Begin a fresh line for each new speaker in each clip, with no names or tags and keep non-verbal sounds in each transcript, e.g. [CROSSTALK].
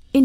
verscheen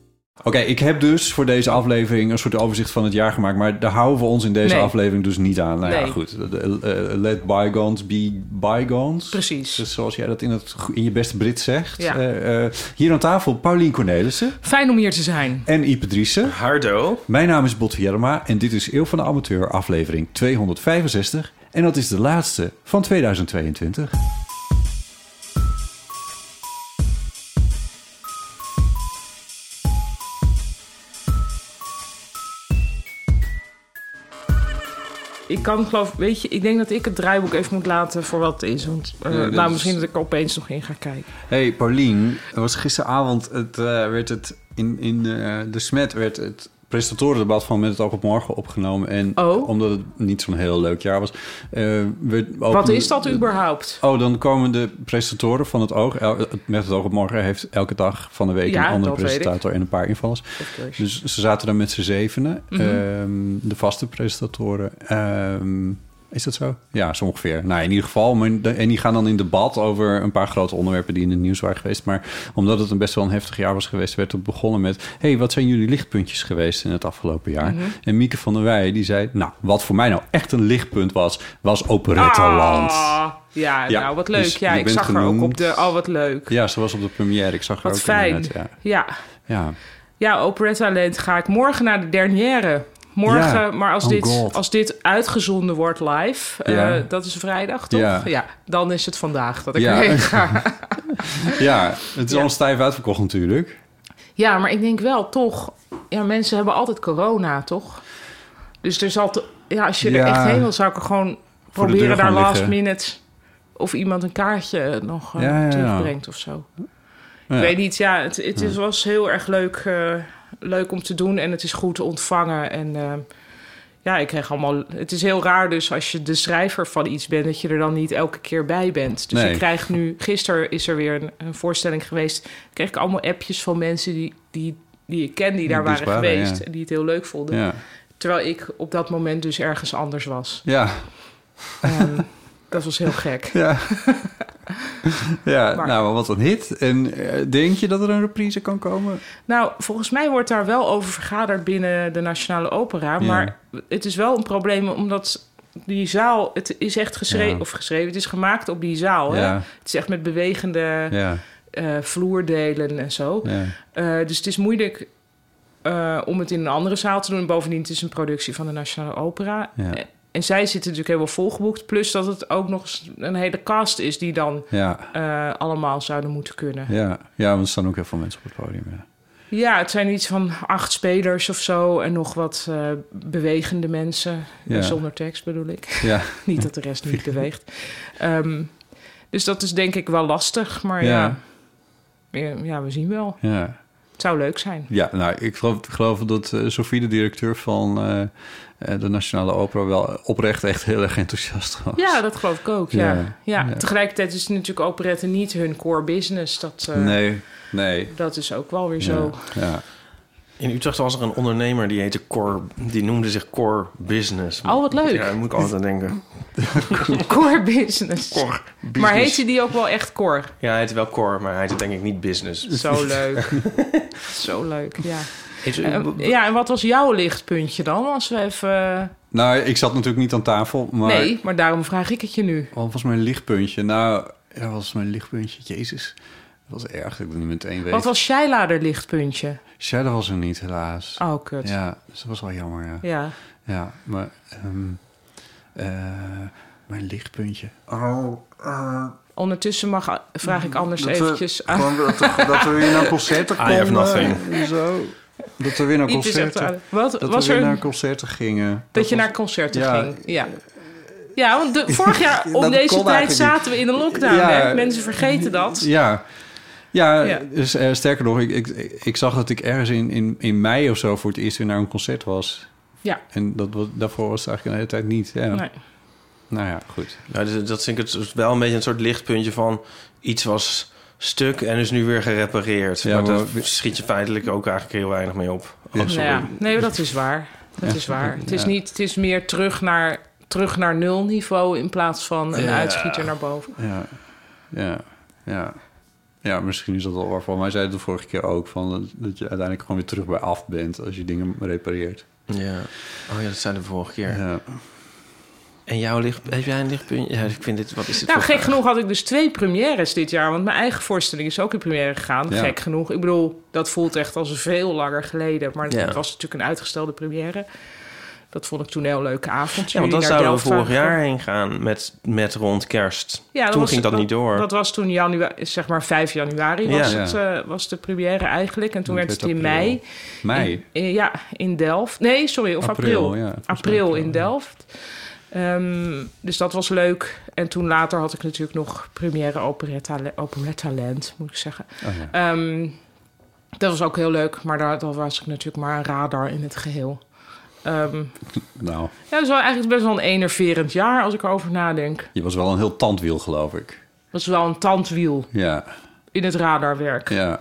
Oké, ik heb dus voor deze aflevering een soort overzicht van het jaar gemaakt. Maar daar houden we ons in deze
Nee.
aflevering dus niet aan. Nou ja,
Nee.
goed. Eh, eh, Let bygones be bygones.
Precies.
Dus zoals jij dat in, het, go- in je beste Brit zegt.
Ja.
Eh, eh, hier aan tafel Paulien Cornelissen
Fijn om hier te zijn.
en Ipe Driessen.
Hardo.
Mijn naam is Bot Vierma en dit is Eeuw van de Amateur aflevering 265. En dat is de laatste van 2022.
Ik kan geloof, weet je, ik denk dat ik het draaiboek even moet laten voor wat het is. Want eh,
Ja, dat
nou,
is-
misschien dat ik er opeens nog in ga kijken.
Hey Paulien, er was gisteravond het, eh, werd het in, in eh, de smet werd het
presentatorendebat van Met het Oog op Morgen opgenomen. En
Oh.
omdat het niet zo'n heel leuk jaar was. eh, we
Wat
openen-
is dat überhaupt?
Oh, dan komen de presentatoren van het oog. el- het- Met het oog op morgen heeft elke dag van de week
Ja,
een andere
dat weet
presentator en een paar invallers.
course. Mhm.
Dus ze zaten dan met z'n zevenen. ehm, de vaste presentatoren. Ehm, is dat zo? Ja, zo ongeveer. Nou, in ieder geval. Maar, de- en die gaan dan in debat over een paar grote onderwerpen die in het nieuws waren geweest. Maar omdat het een best wel een heftig jaar was geweest, werd het begonnen met... Hé, hey, wat zijn jullie lichtpuntjes geweest in het afgelopen jaar?
Mhm.
En Mieke van der Wij, die zei... Nou, wat voor mij nou echt een lichtpunt was, was Operetteland.
Ah, ja,
Ja,
nou wat leuk.
dus
ja,
je
ik
bent
zag haar ook
genoemd.
op de. Oh, wat leuk.
Ja, ze was op de première. Ik zag haar
wat
ook
fijn.
inderdaad, Ja.
Ja.
ja.
ja, Operetta Land ga ik morgen naar de dernière. Morgen,
Ja,
maar als,
oh
dit,
God.
als dit uitgezonden wordt live, eh,
Ja.
dat is vrijdag toch?
Ja.
dan is het vandaag dat ik
Ja.
erheen ga.
Ja, het is
Ja.
al stijf uitverkocht natuurlijk.
Ja, maar ik denk wel toch. Ja, mensen hebben altijd corona, toch? Dus er zal. te- Ja, als je er
Ja.
echt heen wil, zou ik er gewoon
Voor de deur
proberen daar
gaan
last
liggen.
minute. Of iemand een kaartje nog eh,
Ja, ja, ja.
terugbrengt of zo.
Ja.
Ik weet niet, ja, het, het is, was heel erg leuk, eh, leuk om te doen en het is goed te ontvangen. En eh, ja, ik kreeg allemaal. Het is heel raar, dus als je de schrijver van iets bent, dat je er dan niet elke keer bij bent. Dus
Nee.
ik krijg nu. Gisteren is er weer een, een voorstelling geweest. Kreeg ik allemaal appjes van mensen die, die, die ik ken, die daar
Die
waren
waren, ja.
geweest. En die het heel leuk vonden.
Ja.
Terwijl ik op dat moment dus ergens anders
[LAUGHS]
was.
Ja,
Ehm, dat was heel gek.
ja. [LAUGHS] ja
Maar-
nou, wat een hit. En eh, denk je dat er een reprise kan komen?
Nou, volgens mij wordt daar wel over vergaderd binnen de Nationale Opera.
Ja.
Maar het is wel een probleem omdat die zaal, het is echt geschreven,
Ja.
of geschreven, het is gemaakt op die zaal. Hè?
Ja.
Het is echt met bewegende
Ja,
eh, vloerdelen en zo.
ja.
Eh, dus het is moeilijk eh, om het in een andere zaal te doen. En bovendien, het is een productie van de Nationale Opera.
Ja.
Eh, En zij zitten natuurlijk helemaal volgeboekt. Plus dat het ook nog eens een hele cast is die dan
Ja,
eh, allemaal zouden moeten kunnen.
ja. ja want er staan ook heel veel mensen op het podium. Ja.
Ja, het zijn iets van acht spelers of zo en nog wat eh, bewegende mensen.
Ja.
Eh, Zonder tekst bedoel ik. [LAUGHS]
Ja.
niet dat de rest
[LAUGHS]
niet beweegt. Ehm, dus dat is denk ik wel lastig, maar ja.
Ja.
ja. ja, we zien wel.
Ja.
Het zou leuk zijn.
Ja, nou, ik geloof, geloof dat eh, Sophie, de directeur van eh, eh, de Nationale Opera, wel oprecht echt heel erg enthousiast was.
Ja, dat geloof ik ook, ja. Ja,
Ja, ja.
tegelijkertijd is het natuurlijk operette niet hun core business. Dat, eh,
Nee, nee.
dat is ook wel weer
[LAUGHS]
zo.
Ja, ja.
In Utrecht was er een ondernemer die heette Core, die noemde zich Core Business.
Oh, wat leuk.
Ja, daar moet ik altijd aan denken.
Core business.
Core Business.
Maar heette die ook wel echt core? Dus-
Ja, hij heette wel Core, maar hij heette denk ik niet Business.
Zo leuk. Zo leuk, ja.
Dus Is-
En, ja, en wat was jouw lichtpuntje dan? Als we even...
Nou, ik zat natuurlijk niet aan tafel, maar...
Nee, maar daarom vraag ik het je nu.
Wat Oh, was mijn lichtpuntje? Nou, ja, wat was mijn lichtpuntje? Jezus, dat was erg. Ik ben niet meteen weet.
Wat was Sheila haar lichtpuntje?
Shadow was er niet, helaas.
Oh, kut. Ja.
Ja, dus dat was wel jammer, ja. Ja, maar... ehm, eh, mijn lichtpuntje.
Ondertussen mag, eh, vraag ik anders
Dat Oh, eh, we-
eventjes
[LAUGHS]
aan...
Gewoon dat, we- dat we weer naar concerten
[LAUGHS] I have
konden.
nothing.
en Zo. Dat we weer
[LAUGHS]
naar
Iep is echt
concerten,
aardig. Wat
Dat
was
we weer
er
naar concerten gingen.
dat je naar concerten
Ja.
ging? Ja. Ja, want de, vorig jaar om
Dat
deze
kon
tijd
eigenlijk niet.
zaten we in een lockdown.
Ja.
Hè? Mensen vergeten dat.
Ja. Ja,
Ja.
Dus, eh, sterker nog, ik, ik, ik zag dat ik ergens in, in, in mei of zo voor het eerst weer naar een concert was.
Ja.
En dat, was- daarvoor was het eigenlijk een hele tijd niet. Ja.
Nee.
Nou ja, goed.
Nou, dus dat vind ik het dus wel een beetje een soort lichtpuntje van iets was stuk en is nu weer gerepareerd.
Ja,
maar daar
maar-
schiet je feitelijk ook eigenlijk heel weinig mee op.
Ja.
Oh, sorry.
nou Ja. Nee, maar dat is waar. Dat
Ja.
is waar. Het is,
Ja.
niet, het is meer terug naar, terug naar nul niveau in plaats van een
Ja.
uitschieter naar boven.
Ja, ja, ja. Ja, misschien is dat al waarvan. Wij zeiden de vorige keer ook van dat- dat je uiteindelijk gewoon weer terug bij af bent als je dingen repareert.
Ja. Oh ja, dat zei de vorige keer.
Ja.
En jouw licht, heb jij een lichtpuntje? Ja, ik vind dit, wat is dit?
Nou,
voor
gek
vraag?
genoeg had ik dus twee premières dit jaar. Want mijn eigen voorstelling is ook in première gegaan.
Ja.
Gek genoeg. Ik bedoel, dat voelt echt als veel langer geleden. Maar
Ja.
het was natuurlijk een uitgestelde première. Dat vond ik toen een heel leuke avond.
Ja, want dan
Jullie naar
zouden we
Delft
vorig
waren
jaar heen gaan met, met rond kerst.
Ja,
Toen
was-
ging dat niet door.
Dat was toen januari, zeg maar 5 januari was,
Ja.
het, eh, was de première eigenlijk. En toen
Dat
werd het
werd
in
april.
mei.
Mei.
In- in- ja, in Delft. Nee, sorry, of april.
April,
April,
ja, volgens mij april,
in
ja.
Delft. Ehm, dus dat was leuk. En toen later had ik natuurlijk nog première Operetta, Operetta Land, moet ik zeggen.
Oh ja.
Ehm, dat was ook heel leuk, maar daar, daar was ik natuurlijk maar een radar in het geheel. Ehm
Nou,
ja, dat is wel eigenlijk best wel een enerverend jaar als ik erover nadenk.
je was wel een heel tandwiel, geloof ik.
Dat is wel een tandwiel
Ja,
in het radarwerk.
ja.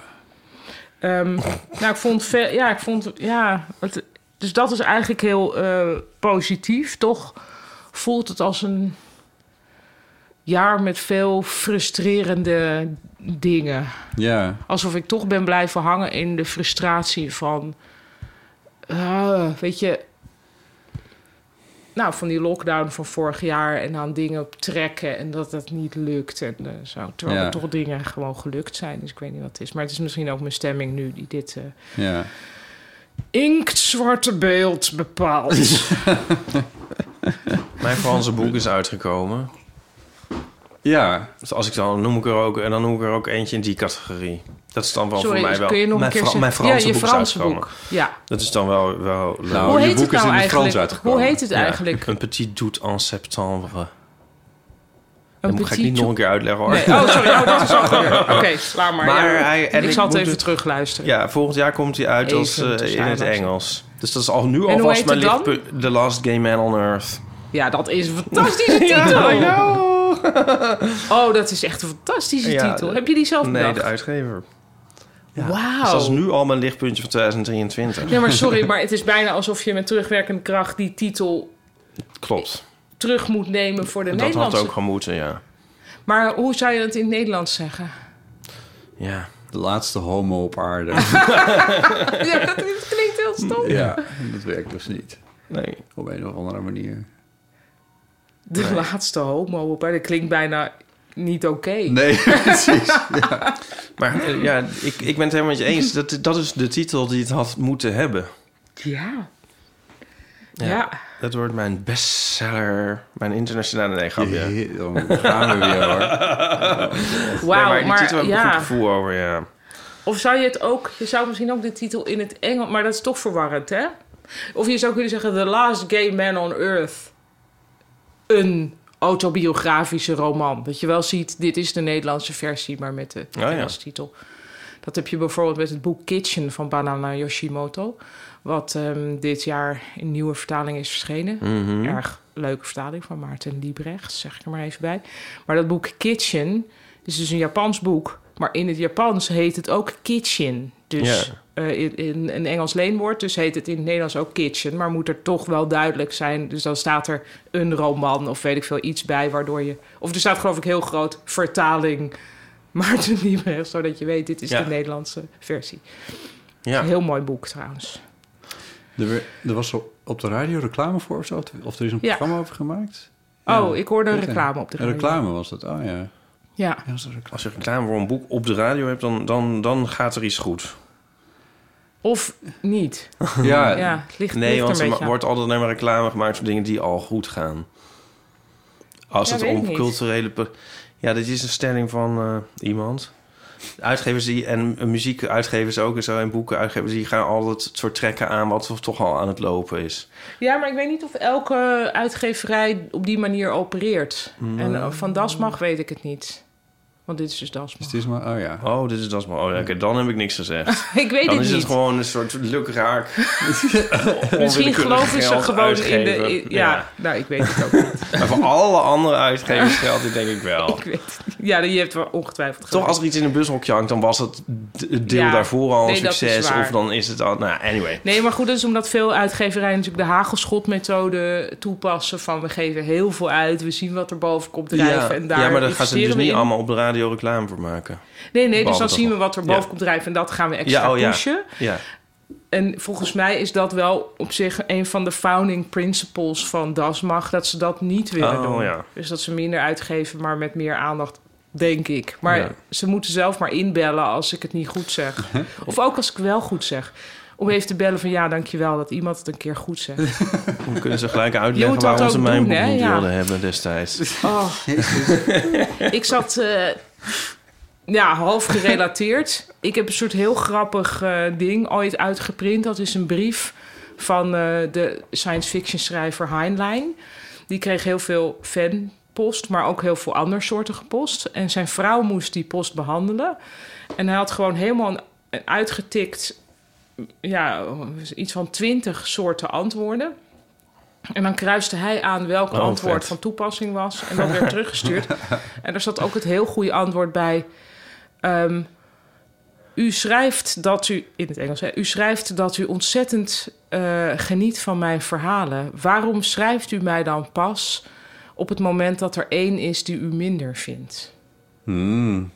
Ehm, nou, ik vond, ve- ja, ik vond, ja, het- dus dat is eigenlijk heel eh, positief. Toch voelt het als een jaar met veel frustrerende dingen.
Ja,
Alsof ik toch ben blijven hangen in de frustratie van, ah, weet je, nou, van die lockdown van vorig jaar en aan dingen trekken en dat dat niet lukt en eh, zo. Terwijl
Ja.
er toch dingen gewoon gelukt zijn, dus ik weet niet wat het is. Maar het is misschien ook mijn stemming nu die dit eh,
ja.
inktzwarte beeld
[LAUGHS]
bepaalt.
Mijn Franse boek is uitgekomen.
Ja,
Dus als ik dan noem ik er ook en dan noem ik er ook eentje in die categorie. Dat is dan wel
Sorry, dus
voor mij wel.
kun je nog
mijn,
een keer
Fra-
zeggen?
mijn Franse
ja, je
boek is
Franse
uitgekomen.
boek. Ja.
Dat is dan wel wel. leuk.
Nou,
Hoe
je
heet
boek
het
is
nou
in het Frans
eigenlijk?
uitgekomen.
Hoe heet het
Ja.
eigenlijk?
een petit doute en septembre.
Een
dat ga ik niet nog een keer uitleggen hoor.
Nee. Oh, sorry. Oh, dat is al gebeurd.
[LAUGHS]
Oké, sla maar.
Maar
ja.
hij- en
ik
ik
zal het
moet
even
het-
terugluisteren.
[LAUGHS] Ja, volgend jaar komt hij uit
Even
als, eh,
tussen
in het
haakjes.
Engels. Dus dat is al nu
hoe
alvast
heet
mijn
het dan?
lichtpunt. The Last Gay Man on Earth.
Ja, dat is een fantastische [LAUGHS] titel. Oh, dat is echt een fantastische
Ja,
titel.
de-
Heb je die zelf
[LAUGHS] Nee,
bedacht?
de
Oh.
uitgever. Dus
Wauw.
dat is nu al mijn lichtpuntje van 2023.
Ja, maar sorry, maar het is bijna alsof je met terugwerkende kracht die titel
Klopt.
terug moet nemen voor de
Dat had
Nederlandse.
ook gemoeten, ja.
Maar hoe zou je het in het Nederlands
[LAUGHS]
zeggen?
Ja.
de laatste homo op
[LAUGHS]
aarde.
Ja, dat is- klinkt heel stom.
ja, dat werkt dus niet.
Nee.
Op een of andere manier.
De laatste homo op aarde klinkt bijna niet oké.
[LAUGHS] Nee, precies.
Maar eh, ja, ik, ik ben het helemaal met je eens. Dat, dat is de titel die het had moeten hebben.
Ja. Ja.
Dat wordt mijn bestseller. Mijn internationale... Nee, grapje. Nee,
Jee, Dan gaan we weer hoor.
Wauw,
maar die
maar,
titel heb ik een
ja.
goed gevoel over, ja.
Of zou je het ook, je zou misschien ook de titel in het Engels, maar dat is toch verwarrend, hè? Of je zou kunnen zeggen The Last Gay Man on Earth. Een autobiografische roman. Dat je wel ziet, dit is de Nederlandse versie, maar met de
ja.
Engelse titel. Dat heb je bijvoorbeeld met het boek Kitchen van Banana Yoshimoto. Wat ehm, dit jaar in nieuwe vertaling is verschenen. Erg leuke vertaling van Maarten Liebrecht, zeg ik er maar even bij. Maar dat boek Kitchen is dus een Japans boek. Maar in het Japans heet het ook Kitchen. Dus
Ja.
eh, in, in een Engels leenwoord, dus heet het in het Nederlands ook kitchen. Maar moet er toch wel duidelijk zijn. Dus dan staat er een roman of weet ik veel iets bij, waardoor je. Of er staat geloof ik heel groot [LAUGHS] vertaling Maarten Liebrecht, zodat je weet, dit is
Ja.
de Nederlandse versie.
Ja.
Een heel mooi boek trouwens.
Er, we- er was op- op de radio reclame voor of zo? Of er is een
Ja.
programma over gemaakt?
Oh, ik hoorde een
weet
reclame
ik.
op de
Een
radio.
eh, reclame was dat, oh ja. ja
Ja.
dat was een reclame.
Als je reclame voor een boek op de radio hebt, dan, dan, dan gaat er iets goed.
Of niet.
[LAUGHS] Ja,
Ja, het ligt,
Nee,
ligt
want
er
er
een
ma-
beetje aan.
wordt altijd alleen maar reclame gemaakt voor dingen die al goed gaan. Als
Ja,
het
weet ik
om
niet.
culturele... per- Ja, dit is een stelling van eh, iemand. Uitgevers die, en eh, muziekuitgevers ook en zo, en boekenuitgevers... die gaan altijd het soort trekken aan wat toch al aan het lopen is.
Ja, maar ik weet niet of elke uitgeverij op die manier opereert.
Mm.
En eh, van Dasmag weet ik het niet. Want dit is dus
Dus
Dasmag.
het is maar, oh ja.
Oh, dit is dat maar. Oh, ja, oké, dan heb ik niks gezegd.
[LAUGHS] Ik Hmm. weet
Dan
het
is
niet.
het gewoon een soort lukraak.
Misschien
onwillekeurig
geloven ze
geld
gewoon in de...
uitgeven.
in- ja.
Ja.
nou, ik weet het ook
[LAUGHS]
niet.
Maar voor alle andere
[LAUGHS]
uitgevers geldt dit denk ik wel.
Ik weet het niet. Ja, je hebt wel ongetwijfeld
Toch,
gelijk.
als er iets in een bushokje hangt, dan was het d- het deel
Ja.
daarvoor al een
Nee, dat is
succes.
waar.
Of dan is het al... Nou, anyway.
Nee, maar goed, dat is omdat veel uitgeverijen natuurlijk de hagelschotmethode toepassen. Van we geven heel veel uit, we zien wat er boven komt drijven. en daar
ja, maar daar gaan ze dus
investeren we
niet
in.
allemaal op de radio reclame voor maken.
Nee, nee, dus
Behalve
dan
dat
zien we
nog.
wat er
Ja.
boven komt drijven en dat gaan we extra
Ja, oh ja.
pushen.
Ja,
En volgens mij is dat wel op zich een van de founding principles van DASMAG. Dat ze dat niet willen
Oh,
doen.
ja.
Dus dat ze minder uitgeven, maar met meer aandacht, denk ik. Maar
Ja.
ze moeten zelf maar inbellen als ik het niet goed
[LAUGHS]
zeg. of ook als ik wel goed zeg. Om even te bellen van ja, dankjewel dat iemand het een keer goed zegt.
[LAUGHS] dan kunnen ze
[LAUGHS]
gelijk
Je
uitleggen
moet dat
waarom ze
ook
mijn
doen,
boek
hè?
niet
Ja.
wilden hebben destijds. [LAUGHS]
Oh. ik zat eh, ja, half gerelateerd. Ik heb een soort heel grappig eh, ding ooit uitgeprint. Dat is een brief van eh, de science fiction schrijver Heinlein. Die kreeg heel veel fanpost, maar ook heel veel andersoortige post. En zijn vrouw moest die post behandelen. En hij had gewoon helemaal een, een uitgetikt... Ja, iets van twintig soorten antwoorden. En dan kruiste hij aan welk
Oh,
antwoord
vet.
van toepassing was. En dat werd
[LAUGHS]
teruggestuurd. En er zat ook het heel goede antwoord bij. ehm, u schrijft dat u, in het Engels, hè, u schrijft dat u ontzettend eh, geniet van mijn verhalen. Waarom schrijft u mij dan pas op het moment dat er één is die u minder vindt?
Hmm,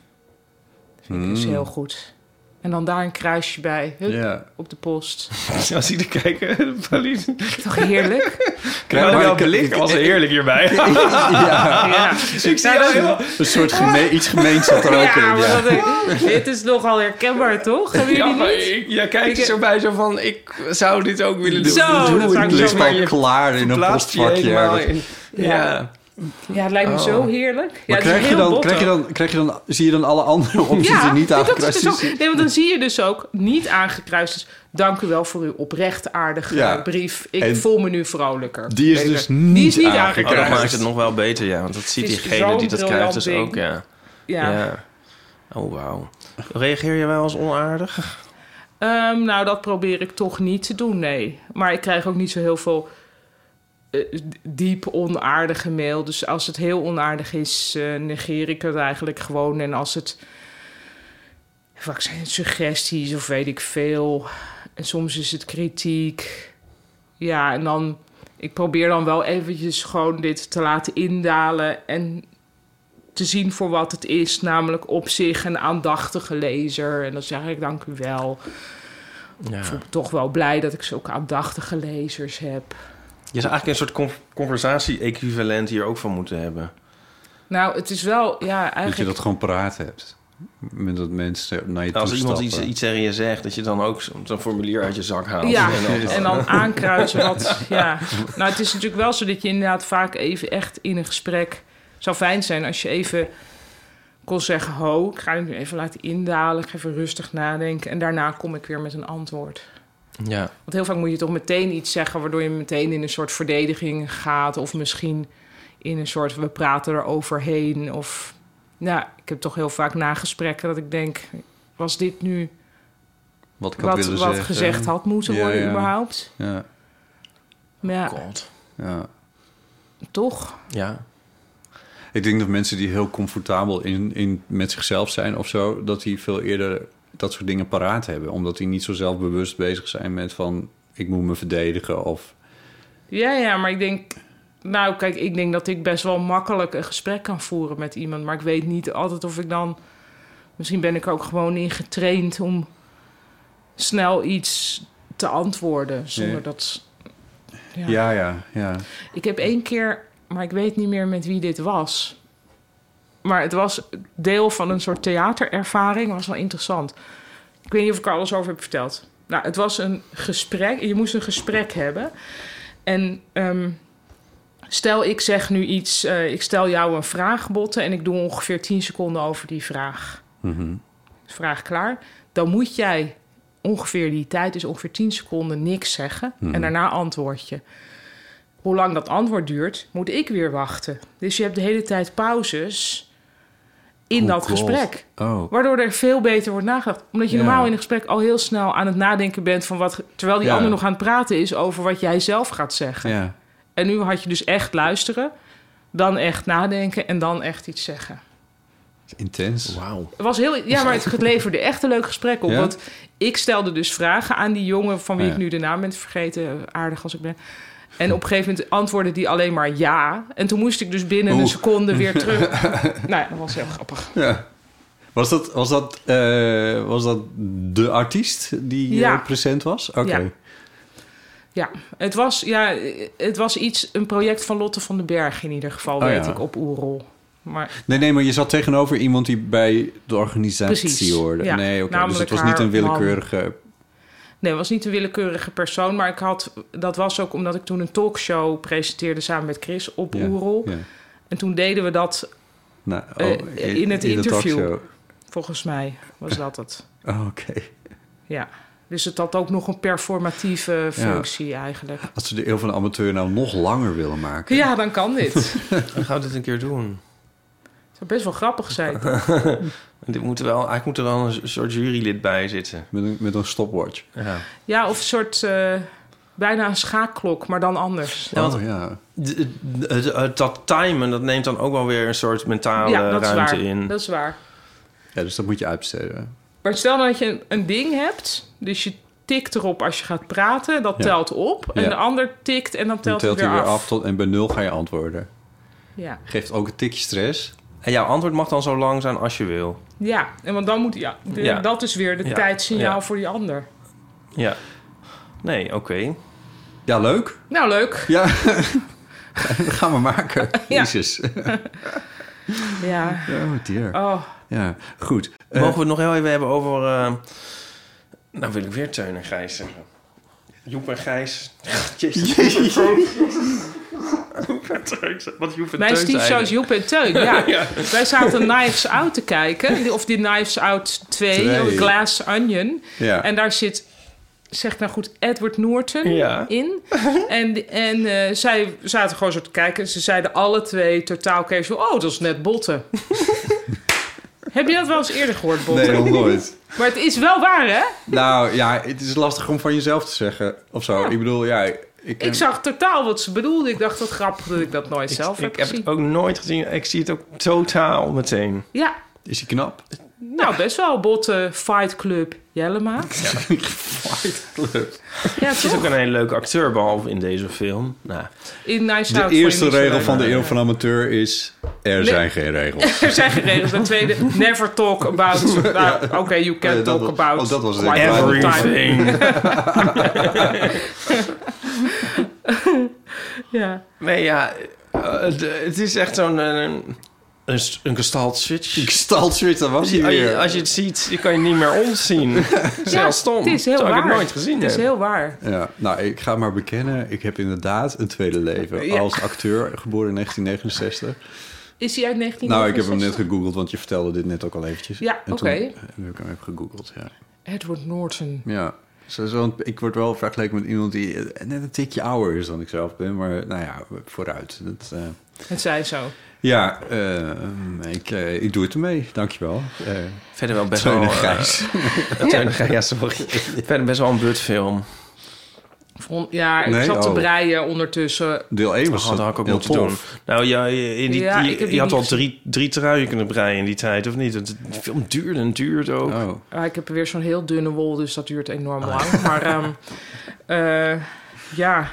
Dat vind ik dus heel goed. En dan daar een kruisje bij, hup,
ja.
op de post. [LAUGHS]
Dus Als ik er kijken, [LAUGHS] Pauline.
Toch
[LAUGHS]
heerlijk?
Krijg
maar
welke
ik-
licht was er heerlijk hierbij. [LAUGHS]
ja.
ik zei dat heel...
Een soort geme iets gemeens zat er ook
Ja,
in,
maar
ja.
dat ik- dit is nogal herkenbaar, toch? Hebben jullie niet?
ik, ja, kijk er zo bij, zo van, ik zou dit ook willen doen.
Zo, dat zou ik
Het
zo
ligt
maar
al klaar in een
Plaatst je
postvakje.
helemaal
ergens.
in. Ja. Oh,
Ja, het lijkt me zo heerlijk. Ja,
Oh. Maar
het is
krijg, je
heel
dan,
bot
krijg, je
ook.
dan, krijg je dan, zie je dan alle andere [LAUGHS] opties
Ja,
die niet
dat is dus
aangekruist
ook-
is?
Nee, want dan zie je dus ook niet aangekruist. is, dank u wel voor uw oprecht aardige
Ja.
eh, brief. Ik
En
voel me nu vrolijker.
Die is
Beter.
dus
Die is
niet
niet
aangekruist.
aangekruist.
Oh, dat maakt het nog wel beter, ja. Want dat ziet
Het is
diegene die
zo'n
dat krijgt dus
briljant
ook,
ding.
ja.
Ja.
ja. Oh, wauw. Reageer je wel als onaardig?
Ehm, nou, dat probeer ik toch niet te doen, nee. Maar ik krijg ook niet zo heel veel eh, diep onaardige mail. Dus als het heel onaardig is, eh, negeer ik het eigenlijk gewoon. En als het, vaak zijn het suggesties of weet ik veel. En soms is het kritiek. Ja, en dan, ik probeer dan wel eventjes gewoon dit te laten indalen... en te zien voor wat het is, namelijk op zich een aandachtige lezer. En dan zeg ik dank u wel.
Ja.
Ik ben toch wel blij dat ik zulke aandachtige lezers heb.
Je zou eigenlijk een soort con- conversatie-equivalent hier ook van moeten hebben.
Nou, het is wel, ja,
Dat je
eigenlijk...
dat gewoon paraat hebt. Met dat mensen naar je toe
Als iemand
stappen.
iets, iets tegen je zegt, dat je dan ook zo'n zo'n formulier uit je zak haalt.
Ja,
En dan-
en dan aankruisen
[LAUGHS]
wat, ja. Nou, het is natuurlijk wel zo dat je inderdaad vaak even echt in een gesprek... zou fijn zijn als je even kon zeggen... ho, ik ga het nu even laten indalen, ik ga even rustig nadenken... en daarna kom ik weer met een antwoord.
ja.
Want heel vaak moet je toch meteen iets zeggen, waardoor je meteen in een soort verdediging gaat. Of misschien in een soort we praten eroverheen. Of nou, ik heb toch heel vaak nagesprekken dat ik denk: was dit nu
wat ik had
wat,
willen
wat
zeggen.
gezegd had moeten
Ja,
worden,
ja.
überhaupt?
Ja,
Maar ja,
God.
ja.
toch?
Ja.
Ik denk dat mensen die heel comfortabel in, in, met zichzelf zijn of zo... dat die veel eerder dat soort dingen paraat hebben. Omdat die niet zo zelfbewust bezig zijn met van... ik moet me verdedigen of...
Ja, ja, maar ik denk. Nou, kijk, ik denk dat ik best wel makkelijk een gesprek kan voeren met iemand. Maar ik weet niet altijd of ik dan. Misschien ben ik er ook gewoon in getraind om snel iets te antwoorden. Zonder
Ja.
dat.
Ja, ja, ja.
Ik heb één keer, maar ik weet niet meer met wie dit was. Maar het was deel van een soort theaterervaring. was wel interessant. Ik weet niet of ik er alles over heb verteld. Nou, het was een gesprek. Je moest een gesprek hebben. En ehm, stel, ik zeg nu iets. eh, ik stel jou een vraag, Botte. En ik doe ongeveer 10 seconden over die vraag. Vraag klaar. Dan moet jij ongeveer die tijd, is ongeveer 10 seconden, niks zeggen. En daarna antwoord je hoe lang dat antwoord duurt, moet ik weer wachten. Dus je hebt de hele tijd pauzes in
Oh,
dat
God.
gesprek.
Oh.
Waardoor er veel beter wordt nagedacht. Omdat je
Ja.
normaal in een gesprek al heel snel aan het nadenken bent van wat. Terwijl die
Ja.
ander nog aan het praten is over wat jij zelf gaat zeggen.
Ja.
En nu had je dus echt luisteren, dan echt nadenken en dan echt iets zeggen.
Intens.
Wauw.
Het was heel, ja, maar het leverde echt een leuk gesprek op.
Ja?
Want ik stelde dus vragen aan die jongen van wie
Ja.
ik nu de naam ben vergeten. Aardig als ik ben. En op een gegeven moment antwoordde die alleen maar ja. En toen moest ik dus binnen een
Oeh.
seconde
[LAUGHS]
weer terug. nou ja, dat was heel grappig.
Ja. Was dat, was, dat, eh, was dat de artiest die eh,
Ja.
present was? Oké.
Ja. Ja, het was, ja, het was iets, een project van Lotte van den Berg in ieder geval,
Oh,
weet
ja.
ik, op Oerol. Maar
Nee, nee, maar je zat tegenover iemand die bij de organisatie
Precies,
hoorde.
ja.
nee, oké. Dus het
Namelijk
was niet
haar
een willekeurige...
nee, het was niet een willekeurige persoon. Maar ik had, dat was ook omdat ik toen een talkshow presenteerde samen met Chris op
Ja,
Oerol.
ja.
En toen deden we dat
Nou, oh,
Oh. Eh, in het
de
interview.
talkshow.
Volgens mij was dat het.
Oh, oké.
Ja. Dus het had ook nog een performatieve functie eigenlijk.
Als we de eeuw van de amateur nou nog langer willen maken.
Ja, dan kan
[LAUGHS]
dit. Het
Dan gaan we dit een keer doen.
zou best wel grappig zijn.
En Dit moet er wel, eigenlijk moet er wel een soort jurylid bij zitten.
Met een, met een stopwatch.
Ja.
Ja, of een soort eh, bijna een schaakklok, maar dan anders.
Ja, want-
oh, ja.
D- d- d- d- Dat timen, dat neemt dan ook wel weer een soort mentale
ja, dat is
ruimte
waar.
in.
Dat is waar.
ja, dus dat moet je uitbesteden.
Maar stel nou dat je een, een ding hebt, dus je tikt erop als je gaat praten, dat
Ja.
telt op. En
Ja.
de ander tikt en dan
Dan
telt,
telt
hij weer af.
tot, en bij nul ga je antwoorden.
Ja.
Geeft ook een tikje stress.
En jouw antwoord mag dan zo lang zijn als je wil.
ja, en want dan moet ja, de-
Ja.
dat is weer de
Ja.
tijdsignaal
Ja.
voor die ander.
Ja. Nee, oké.
Ja, leuk.
Nou, leuk.
Ja, [LAUGHS] dat gaan we maken.
[LAUGHS] Ja.
Jezus.
Ja.
Oh dear.
Oh.
Ja, goed. Eh,
Mogen we het nog heel even hebben over... eh, Nou wil ik weer Teun en Gijs zeggen. Joep en Gijs. [LAUGHS]
[LAUGHS]
Jezus. Joep en Teun. Wat Joep en
Mijn
Teun
stiefzoon is
zeiden.
Joep en Teun, ja. Wij zaten Knives Out te kijken. Of die Knives Out 2,
Twee.
of Glass Onion.
Ja.
En daar zit, zeg nou goed, Edward Norton
Ja.
in. En, en eh, zij zaten gewoon zo te kijken. En ze zeiden alle twee totaal casual... Oh, dat is net Botten. Heb je dat wel eens eerder gehoord, Botten?
nee, nog nooit.
Maar het is wel waar, hè?
Nou ja, het is lastig om van jezelf te zeggen of zo. Ik bedoel, ja, ik,
Ik zag totaal wat ze bedoelden. Ik dacht, wat grappig dat ik dat nooit zelf heb
Ik heb
gezien.
het ook nooit gezien. Ik zie het ook totaal meteen.
Ja,
Is hij knap?
nou best wel. Botten, Fight Club, Jellema. Ja,
Het is
toch?
ook een hele leuke acteur, behalve in deze film. Nou,
In Nice
De
Out
eerste
vond je niet zo
regel van de
leuk.
eeuw van amateur is... Er zijn geen regels.
[LAUGHS] Er zijn geen regels. De tweede, never talk
[LAUGHS]
about... Nou, Oké, you can
Eh, dat
talk
was-
about...
oh, dat was het.
quite a lot of time.
everything.
Ja.
[LAUGHS] Nee, ja, eh, het- het is echt zo'n... eh, Een, een, s- een gestalt switch.
Stalswitch, dat was
Als je,
hij
als, je,
weer.
als je het ziet, je kan je niet meer ontzien.
[LAUGHS]
Dat is heel stom.
Het is heel
Terwijl
waar.
ik het nooit gezien
Het is
heb.
heel waar.
Ja, nou, ik ga maar bekennen. Ik heb inderdaad een tweede leven
Ja.
als acteur, geboren in 1969.
Is hij uit 1969?
Nou, ik heb hem net gegoogeld, want je vertelde dit net ook al eventjes.
Ja,
En
oké.
toen heb ik hem even gegoogeld, ja.
Edward Norton.
Ja, zo, zo, ik word wel vergeleken met iemand die eh, net een tikje ouder is dan ik zelf ben. Maar nou ja, vooruit. Dat, eh,
Het zij zo.
ja, eh, ik, eh, ik doe het ermee. Dankjewel. Eh
Verder wel best
Teun en
wel... eh, [LAUGHS]
Gijs.
Teun en Gijs, ja,
[LAUGHS]
sorry. Verder best wel een butfilm.
Vond- Ja, ik
Nee,
zat te
oh.
breien ondertussen.
Deel 1 was
Oh, dat had ik ook
heel
moeten
tof.
doen. Nou ja, je- in die,
Ja,
je-
ik heb
je,
die
had
niet
al
gezien.
drie, drie truien kunnen breien in die tijd, of niet? Het- De film duurde en duurde ook.
Oh,
Ah, ik heb weer zo'n heel dunne wol, dus dat duurt enorm
Ah.
lang. Maar
[LAUGHS]
ehm, eh, ja,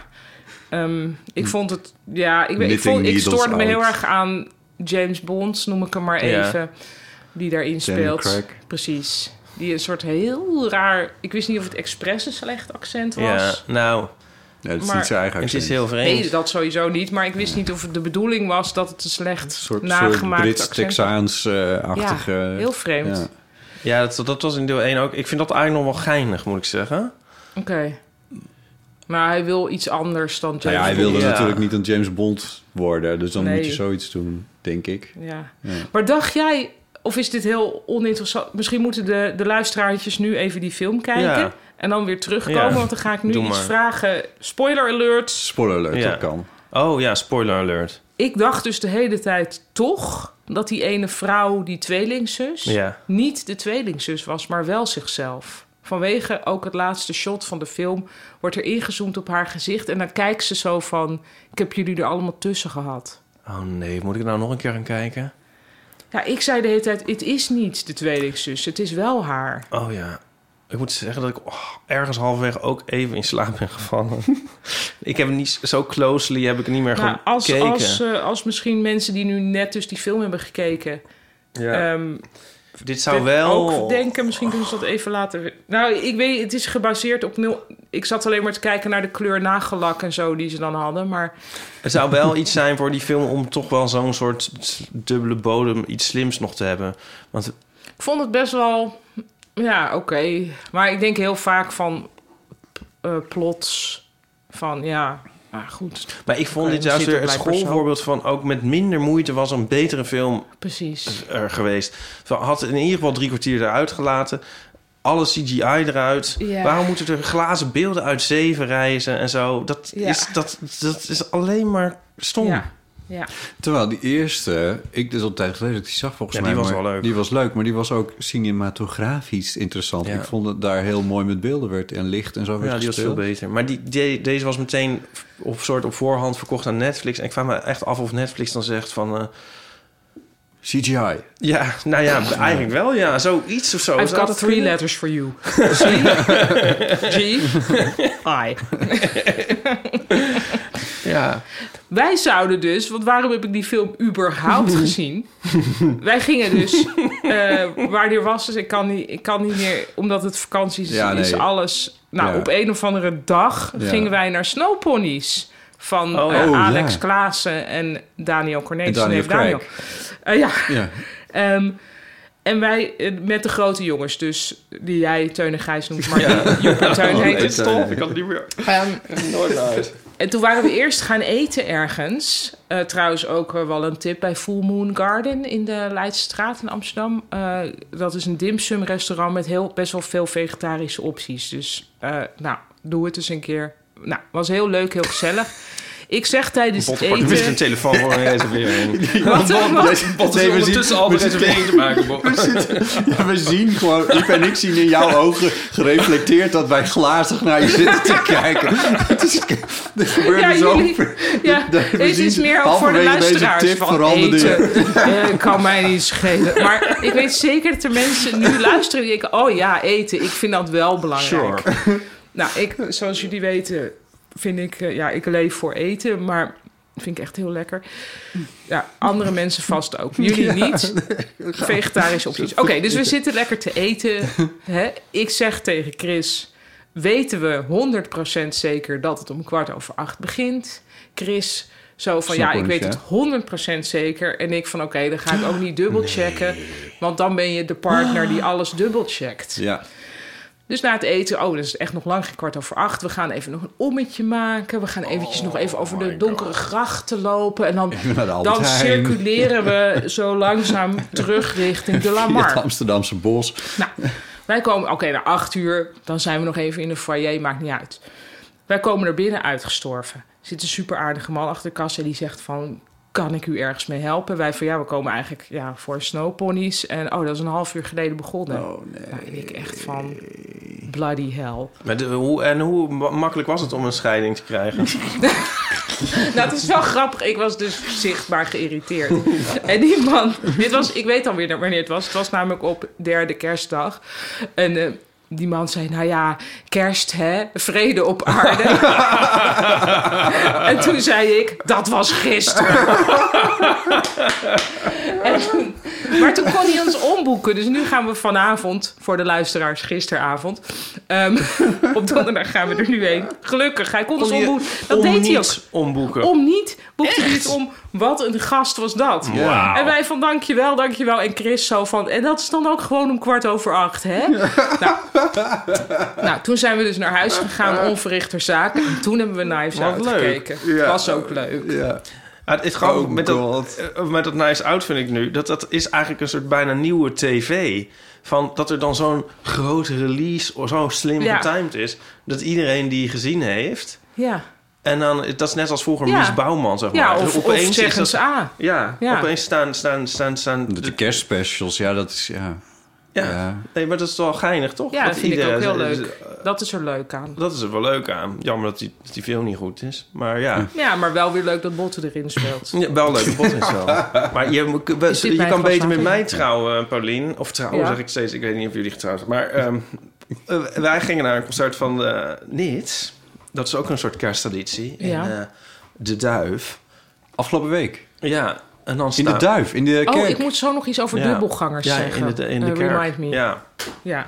ehm, ik vond het... Ja, ik, weet- ik,
Knitting
vond, ik
needles
stoorde me heel
out.
erg aan James Bond, noem ik hem maar
Ja.
even. Die daarin
Daniel
speelt.
Craig.
Precies. Die een soort heel raar... Ik wist niet of het expres een slecht accent was.
Ja, nou,
Nee, dat is
Maar-
niet zijn eigen
het
accent.
is heel vreemd.
Nee, dat sowieso niet. Maar ik wist niet of het de bedoeling was dat het een slecht
Een soort, soort
nagemaakt accent was.
Brits-Texaans-achtige...
Ja, heel vreemd.
Ja.
Ja, dat, dat was in deel 1 ook. Ik vind dat eigenlijk nog wel geinig, moet ik zeggen.
Oké. Maar hij wil iets anders dan James
Nou ja, hij
Bond.
wilde
Ja.
natuurlijk niet een James Bond worden. Dus dan
Nee.
moet je zoiets doen, denk ik.
Ja.
Ja.
Maar dacht jij, of is dit heel oninteressant? Misschien moeten de, de luisteraartjes nu even die film kijken.
Ja.
En dan weer terugkomen,
Ja.
want dan ga ik nu
Doe
iets
maar.
vragen. Spoiler alert.
Spoiler alert,
Ja.
dat kan.
Oh ja, spoiler alert.
Ik dacht dus de hele tijd toch dat die ene vrouw, die tweelingzus,
Ja.
niet de tweelingzus was, maar wel zichzelf. Vanwege ook het laatste shot van de film wordt er ingezoomd op haar gezicht. En dan kijkt ze zo van, ik heb jullie er allemaal tussen gehad.
Oh nee, moet ik er nou nog een keer aan kijken?
Ja, ik zei de hele tijd, het is niet de tweelingzus, het is wel haar.
Oh ja. Ik moet zeggen dat ik oh, ergens halverwege ook even in slaap ben
[LAUGHS]
gevallen. ik heb niet zo closely heb ik niet meer
Nou, als,
gekeken.
als, eh, als misschien mensen die nu net dus die film hebben gekeken...
ja.
ehm
dit zou
dit
wel...
ook denken, misschien kunnen ze dat even laten... we- Nou, ik weet, het is gebaseerd op... nul- Ik zat alleen maar te kijken naar de kleur nagellak en zo die ze dan hadden. Maar
Het zou wel iets zijn voor die film om toch wel zo'n soort dubbele bodem, iets slims nog te hebben. Want
ik vond het best wel... Ja, oké. Maar ik denk heel vaak van eh, plots van ja... Maar goed,
Maar ik vond
Oké,
dit
dan
juist
zit
weer
het
het
blijkbaar zo.
schoolvoorbeeld van... ook met minder moeite was een betere film
precies.
er geweest. Van, Had in ieder geval drie kwartier eruit gelaten. Alle CGI eruit.
Ja.
Waarom moeten er glazen beelden uit zeven reizen en zo? Dat,
Ja.
is, dat, dat is alleen maar stom.
Ja, ja.
Terwijl die eerste, ik dus al een tijd geleden dat ik die zag volgens
Ja,
mij.
die was
maar-
wel leuk.
Die was leuk, maar die was ook cinematografisch interessant.
Ja.
Ik vond het daar heel mooi met beelden werd en licht en zo werd
Ja, die was veel
gespeeld.
beter. Maar die, die- deze was meteen op soort op voorhand verkocht aan Netflix. En ik vraag me echt af of Netflix dan zegt van... eh,
CGI.
ja, nou ja, eigenlijk wel ja. Zoiets of zo.
I've got
Zou Oh, dat
three
kunnen?
letters for you.
[LAUGHS]
C, G, I.
Ja.
Wij zouden dus, want waarom heb ik die film
[LAUGHS]
überhaupt gezien? Wij gingen dus, eh waar die was, dus ik kan, niet, ik kan niet meer, omdat het vakantie is,
Ja,
is
nee.
alles. Nou,
Ja.
op een of andere dag
Ja.
gingen wij naar Snowponies van
Oh,
eh,
ja.
Alex Klaassen en Daniel
En
Cornelissen.
Daniel
Nee, Daniel.
Craig.
Eh, ja,
Ja,
Ehm, en wij eh, met de grote jongens, dus die jij Teun en
[LAUGHS]
Gijs noemt, maar die Joep en Teun heet het.
eh,
Stop, ik had het niet meer. Nooit uit.
En toen waren we eerst gaan eten ergens. Eh, trouwens ook eh, wel een tip bij Full Moon Garden in de Leidstraat in Amsterdam. Eh, dat is een dimsum restaurant met heel, best wel veel vegetarische opties. Dus eh, nou, doe het eens een keer. Nou, was heel leuk, heel gezellig. Ik zeg tijdens het
Bottenpart, wist een
eten...
telefoon voor een [LAUGHS] reservering.
Wat, wat?
Bot is ondertussen al de reservering
[LAUGHS]
te maken, Bob. [LAUGHS]
we zien gewoon, ik en ik zien in jouw ogen gereflecteerd dat wij glazig naar je zitten te kijken. [LAUGHS] Het is, er gebeurde
Ja,
zo [LAUGHS]
jullie, ja,
we
het is
zien
meer ook voor de
halverwege deze
luisteraars
tip
van
veranderde je.
eten.
[LAUGHS]
Eh, kan mij niet schelen. Maar ik weet zeker dat er mensen nu luisteren die denken... oh ja, eten, ik vind dat wel belangrijk. Nou, ik, zoals jullie weten, vind ik... eh, ja, ik leef voor eten, maar dat vind ik echt heel lekker. Ja, andere mensen vast ook. Jullie niet. Vegetarische opties. Oké, dus we zitten lekker te eten. Hè? Ik zeg tegen Chris... weten we 100% zeker dat het om kwart over acht begint? Chris zo van, ja, ik
Snapper,
weet het 100% zeker. En ik van, oké, dan ga ik ook niet dubbelchecken. Want dan ben je de partner die alles dubbelcheckt.
Ja,
Dus na het eten, oh, dat is echt nog lang geen kwart over acht. We gaan even nog een ommetje maken. We gaan eventjes nog even over
Oh
de donkere grachten lopen. En dan,
naar de Albert
dan
Heijn.
circuleren we zo langzaam terug
[LAUGHS]
richting de
het
Lamar.
Amsterdamse bos.
Nou, wij komen, oké, na acht uur, dan zijn we nog even in de foyer, maakt niet uit. Wij komen er binnen uitgestorven. Er zit een super aardige man achter de kassa die zegt van... kan ik u ergens mee helpen? Wij van, ja, we komen eigenlijk ja, voor snowponies. En oh, dat is een half uur geleden begonnen. Oh nee. en ik echt van, bloody hell.
Maar de- hoe, en hoe ma- makkelijk was het om een scheiding te krijgen?
Nou, het is wel grappig. Ik was dus zichtbaar geïrriteerd. En die man, dit was, ik weet alweer wanneer het was. Het was namelijk op derde kerstdag. En eh, die man zei, nou ja, kerst hè, vrede op aarde. en toen zei ik, dat was gisteren. en, Maar toen kon hij ons omboeken. Dus nu gaan we vanavond, voor de luisteraars gisteravond, ehm, op donderdag gaan we er nu heen. Gelukkig, hij kon ons
Kon je
omboeken. [LAUGHS] Dat
om
deed hij ook.
niet omboeken.
Om niet boekte hij het om. Wat een gast was dat.
Wauw.
En wij van dankjewel, dankjewel. En Chris zo van... En dat is dan ook gewoon om kwart over acht, hè? Nou, nou, toen zijn we dus naar huis gegaan, onverrichter zaken. En toen hebben we Knives
Wat
Out
leuk.
gekeken.
Ja.
Was ook leuk.
Ja.
Ah, het is grappig,
Oh
met, dat,
God.
eh, met dat Nice Out vind ik nu... dat dat is eigenlijk een soort bijna nieuwe tv. Van dat er dan zo'n grote release... of zo slim
Ja.
getimed is... dat iedereen die gezien heeft...
Ja,
en dan, dat is net als vroeger
Ja.
Mies Bouwman, zeg maar.
ja
Dus
of, of
opeens is
zeggen
dat-
ze ah, A.
Ja,
Ja.
opeens staan... staan, staan, staan
De, de kerstspecials, ja, dat is... Ja.
ja.
Ja.
Nee, maar dat is wel geinig, toch?
Ja, dat vind ik ook heel
iedereen-
leuk. Dat is er leuk aan.
Dat is er wel leuk aan. Jammer dat die, dat die film niet goed is. Maar ja,
Ja, maar wel weer leuk dat Botten erin speelt.
ja wel leuk. Bot is
[LAUGHS]
wel. Maar je, moet- we-
Is dit
je
mijn
kan
glas
beter met
water?
mij trouwen, eh, Paulien. Of trouwen
Ja.
zeg ik steeds. Ik weet niet of jullie getrouwd zijn. Maar ehm, eh, wij gingen naar een concert van de Nits. Dat is ook een soort kersttraditie.
Ja.
En, eh, de Duif.
Afgelopen week.
Ja, en dan
In de
staan-
duif, in de kerk.
Oh, ik moet zo nog iets over
Ja.
dubbelgangers
ja,
zeggen.
in de, in de
Eh,
kerk.
Remind me. Ja.
Ja.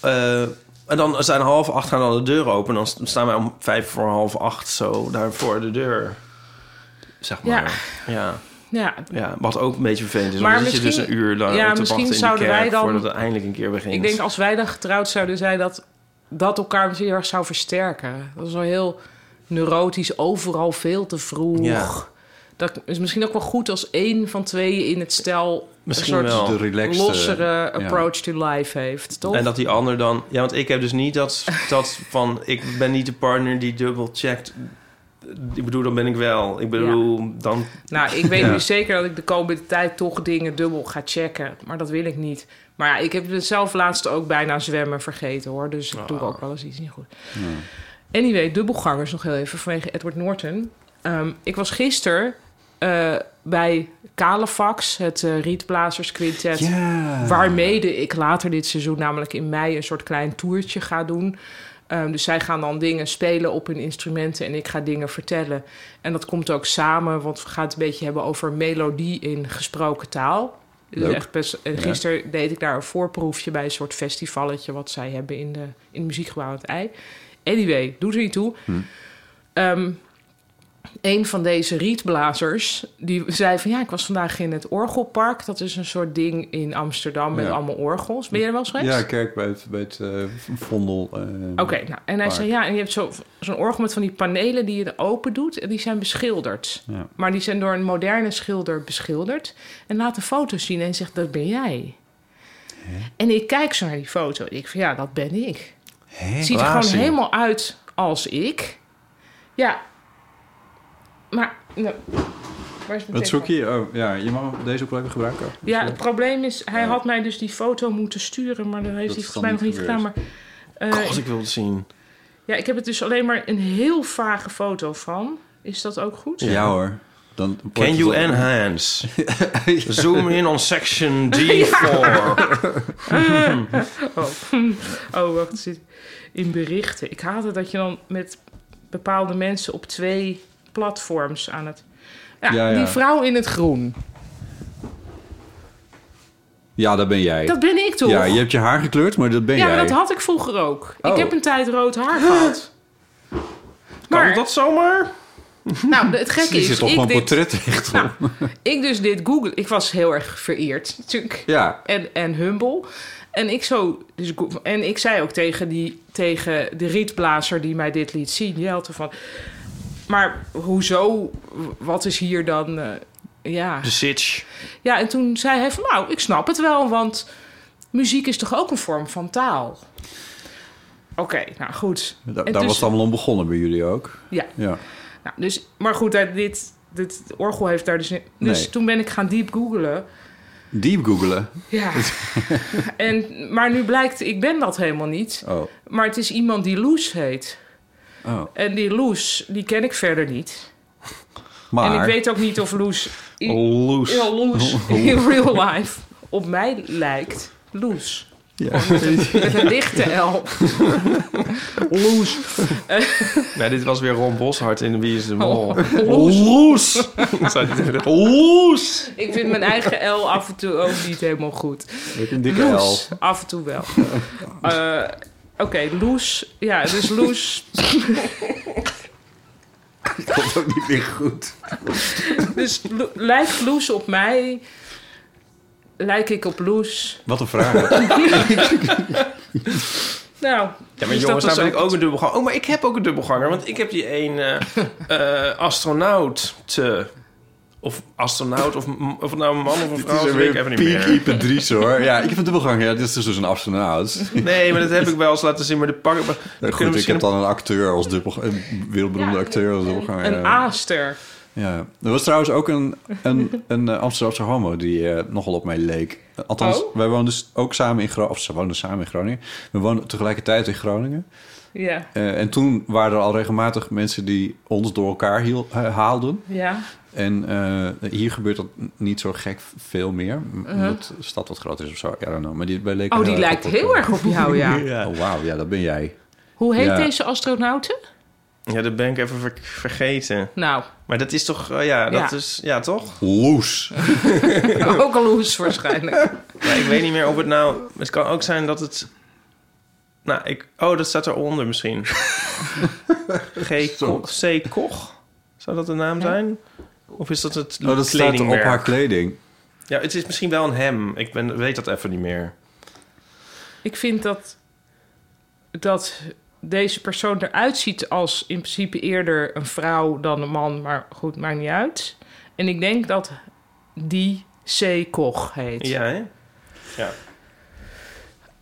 Eh, en dan zijn half acht gaan dan de deur open. En dan staan wij om vijf voor half acht zo daar voor de deur. Zeg maar. Ja. ja.
ja,
wat ook een beetje vervelend is.
Maar
Maar omdat je dus
misschien-
een uur lang
ja,
ja, te
misschien
wachten in die
zouden wij
kerk
dan-
voordat het eindelijk een keer begint.
Ik denk ah, als wij dan getrouwd zouden zijn, dat dat elkaar misschien heel erg zou versterken. Dat is wel heel neurotisch, overal veel te vroeg.
Ja.
Dat is misschien ook wel goed als één van tweeën in het stel
Misschien
een
wel.
de
soort
relaxte,
lossere
ja.
approach to life heeft, toch?
En dat die ander dan... Ja, want ik heb dus niet dat, dat van... Ik ben niet de partner die dubbel checkt. Ik bedoel, dan ben ik wel. Ik bedoel, dan...
Nou, ik weet
Ja.
nu zeker dat ik de komende tijd toch dingen dubbel ga checken. Maar dat wil ik niet. Maar ja, ik heb het zelf laatst ook bijna zwemmen vergeten hoor. Dus ik doe ook wel eens iets niet goed. Anyway, dubbelgangers nog heel even vanwege Edward Norton. Ehm, ik was gisteren eh, bij Kalefax, het eh, Rietblazers Quintet.
Ja.
Waarmede ik later dit seizoen, namelijk in mei, een soort klein toertje ga doen. Ehm, dus zij gaan dan dingen spelen op hun instrumenten en ik ga dingen vertellen. En dat komt ook samen, want we gaan het een beetje hebben over melodie in gesproken taal. Dus
Leuk.
echt best- en gisteren deed ik daar een voorproefje bij een soort festivalletje wat zij hebben in, de, in het muziekgebouw aan het ei. Anyway, doet er niet toe. Ehm, een van deze rietblazers, die zei van ja, ik was vandaag in het orgelpark. Dat is een soort ding in Amsterdam met
Ja.
allemaal orgels. Ben je er wel eens geweest?
Ja, kerk bij het, bij het eh, Vondel. eh,
Oké, nou, en hij
Park.
zei ja, en je hebt zo- zo'n orgel met van die panelen die je er open doet. En die zijn beschilderd.
Ja.
Maar die zijn door een moderne schilder beschilderd. En laat een foto zien en zegt, dat ben jij. En ik kijk zo naar die foto. Ik van ja, dat ben ik. Het ziet er gewoon
Wazing.
helemaal uit als ik. Ja. Maar, nou, waar
Wat
is mijn telefoon?
zoek je? Oh, ja, je mag deze ook wel even gebruiken.
Ja, het probleem is, hij had mij dus die foto moeten sturen, maar dat heeft
Dat
hij
is
volgens
dan
mij nog niet
niet
gedaan. Maar, eh,
God, ik wil het zien.
ja, ik heb het dus alleen maar een heel vage foto van. Is dat ook goed?
Ja, hoor. Dan
Can you enhance? Zoom in on section
[LAUGHS]
D4.
Oh, oh wacht, het zit in berichten. Ik haat het dat je dan met bepaalde mensen op twee platforms aan het... Ja,
Ja, ja.
die vrouw in het groen.
Ja, dat ben jij.
Dat ben ik toch?
Ja, je hebt je haar gekleurd, maar dat ben
Ja,
jij.
maar dat had ik vroeger ook.
Oh.
Ik heb een tijd rood haar gehad.
Kan
Maar,
dat zomaar?
nou, het gekke
Je
is,
zit toch
ik
gewoon
dit,
portret echt op.
Nou, ik dus dit google. Ik was heel erg vereerd natuurlijk.
Ja.
En, en humble. En ik, zo, dus, go- en ik zei ook tegen, die, tegen de rietblazer die mij dit liet zien, Jelte van... Maar hoezo? Wat is hier dan... eh, ja.
De sitch.
ja, en toen zei hij van nou, ik snap het wel, want muziek is toch ook een vorm van taal? Oké, nou goed.
Da- daar
En dus-
was het allemaal om begonnen bij jullie ook.
Ja.
Ja.
Nou, dus, maar goed, hij- dit, dit orgel heeft daar dus... Dus
Nee.
toen ben ik gaan diep googlen.
Diep googelen.
Ja. en, maar nu blijkt, ik ben dat helemaal niet.
Oh.
Maar het is iemand die Loes heet.
oh.
En die Loes, die ken ik verder niet.
Maar...
En ik weet ook niet of Loes... i-
Loose.
[LAUGHS]
heel Loes in real life op mij lijkt. Loes. Met een lichte
[LAUGHS]
L. Loes.
Nee, dit was weer Ron Boshart in Wie is de
Oh,
Mol.
Loes.
Loes! Zou die tegen de- Loes!
Ik vind mijn eigen L af en toe ook niet helemaal goed.
Met een dikke L. [LAUGHS]
Loes. Af en toe wel. Eh, Oké, Loes. Ja, dus Loes.
Komt ook niet meer goed.
Dus lo- lijkt Loes op mij? Lijk ik op Loes?
Wat een [LAUGHS] vraag.
[LAUGHS] Nou,
Ja, maar
dus
jongens,
dat
daar
was
ben ik ook een dubbelganger. Oh, maar ik heb ook een dubbelganger. Want ik heb die
[LAUGHS]
een eh, eh, astronaut te... Of astronaut, of, m- of het nou een man of een
Het
vrouw
is
is, weet ik even
weer
niet meer.
peak Patrice hoor. Ja, ik heb een dubbelgang. Ja, dit is dus een
[LAUGHS]
astronaut.
Nee, maar dat heb ik wel eens laten zien. Maar de pakken... maar-
Ja,
kunnen
Nou, Goed, ik
misschien
heb dan een acteur als dubbel, een wereldberoemde
Ja,
acteur als
oh,
dubbelganger.
Een
ja.
aaster.
Ja. Er was trouwens ook een, een,
[LAUGHS]
een eh, Amsterdamse homo die eh, nogal op mij leek. Althans,
Oh?
wij woonden s- ook samen in Groningen. Of ze woonden samen in Groningen. We woonden tegelijkertijd in Groningen.
Ja.
Eh, en toen waren er al regelmatig mensen die ons door elkaar hiel- eh, haalden.
Ja.
En eh, hier gebeurt dat niet zo gek veel meer. m- Omdat de stad wat groter is of zo. I don't know. Maar die, wij leken
Uh-huh. Oh, die lijkt
op
heel
elkaar.
erg op jou,
[LAUGHS]
ja.
Oh, wauw. Ja, dat ben jij.
Hoe heet
Ja.
deze astronauten?
Ja, dat ben ik even ver- vergeten.
Nou, [LAUGHS]
Maar dat is toch... eh, ja, dat
Ja.
is... Ja, toch?
Loes.
ook een Loes waarschijnlijk.
Ja, ik weet niet meer of het nou... Het kan ook zijn dat het... Nou, ik... Oh, dat staat
[LAUGHS]
eronder misschien. G. Koch, C. Koch? Zou dat de naam zijn? Of is dat het
Oh, dat staat op
kledingmerk?
haar kleding.
Oh,
Ja, het is misschien wel een hem. Ik ben, weet dat even niet meer.
Ik vind dat, dat deze persoon eruit ziet als in principe eerder een vrouw dan een man. Maar goed, maakt niet uit. En ik denk dat die C. Koch heet.
Ja, hè?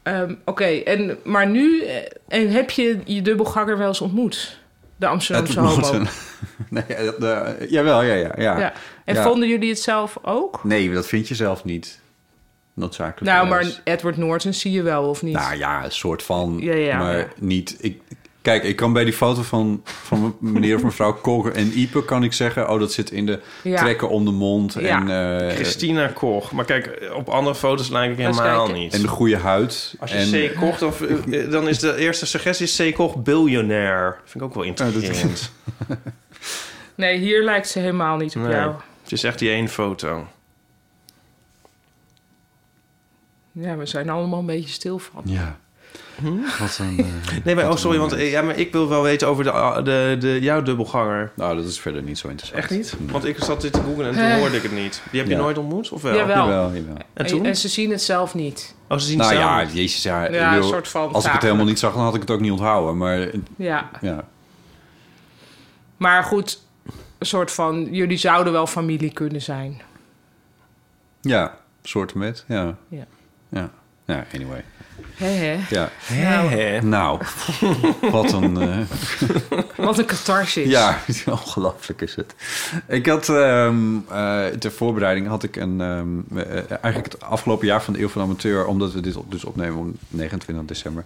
Ehm, Oké, en maar nu... eh, En heb je je dubbelganger wel eens ontmoet? De Amsterdamse
Het moet
homo.
een- [LAUGHS] Nee, dat, eh, jawel, ja, ja, ja.
Ja. En
Ja.
vonden jullie het zelf ook?
Nee, dat vind je zelf niet. Noodzakelijk.
Nou, maar
juist.
Edward Norton zie je wel of niet?
Nou ja, een soort van.
Ja, ja.
maar niet. Ik, kijk, ik kan bij die foto van, van meneer of mevrouw Koger en Ipe kan ik zeggen... oh, dat zit in de
Ja.
trekken om de mond
Ja.
en, eh,
Christina Koch. Maar kijk, op andere foto's lijk ik
eens
helemaal
kijken.
niet.
en de goede huid.
Als
en,
je C. Koch, dan, eh, dan is de eerste suggestie C. Koch biljonair. Vind ik ook wel
[LAUGHS]
interessant.
Nee, hier lijkt ze helemaal niet op
Nee.
jou.
Het is echt die één foto.
Ja, we zijn allemaal een beetje stil van.
Ja. Wat een... eh,
Nee, maar, oh, sorry, want eh, ja, maar ik wil wel weten over de, ah, de, de, jouw dubbelganger.
nou, dat is verder niet zo interessant. Mm.
Echt niet? Want ik zat dit te googlen en toen
Eh.
hoorde ik het niet. Die heb je
Ja.
nooit ontmoet, of wel?
Jawel.
Jawel, jawel.
En
En,
toen?
en ze zien het zelf niet.
Oh, ze zien het
Nou
zelf.
ja, jezus, ja. ik
Ja, een
bedoel,
soort van
als ik het
taak.
helemaal niet zag, dan had ik het ook niet onthouden. Maar eh,
Ja,
ja,
maar goed, een soort van... Jullie zouden wel familie kunnen zijn.
ja soort met, ja.
Ja.
Ja, ja anyway.
Hé, hé.
Ja.
Hè?
Nou, wat een... eh,
Wat een catharsis.
ja, [LAUGHS] ongelooflijk is het. Ik had ehm, eh, ter voorbereiding had ik een... ehm, eh, eigenlijk het afgelopen jaar van de Eeuw van de Amateur... omdat we dit op- dus opnemen op 29 december...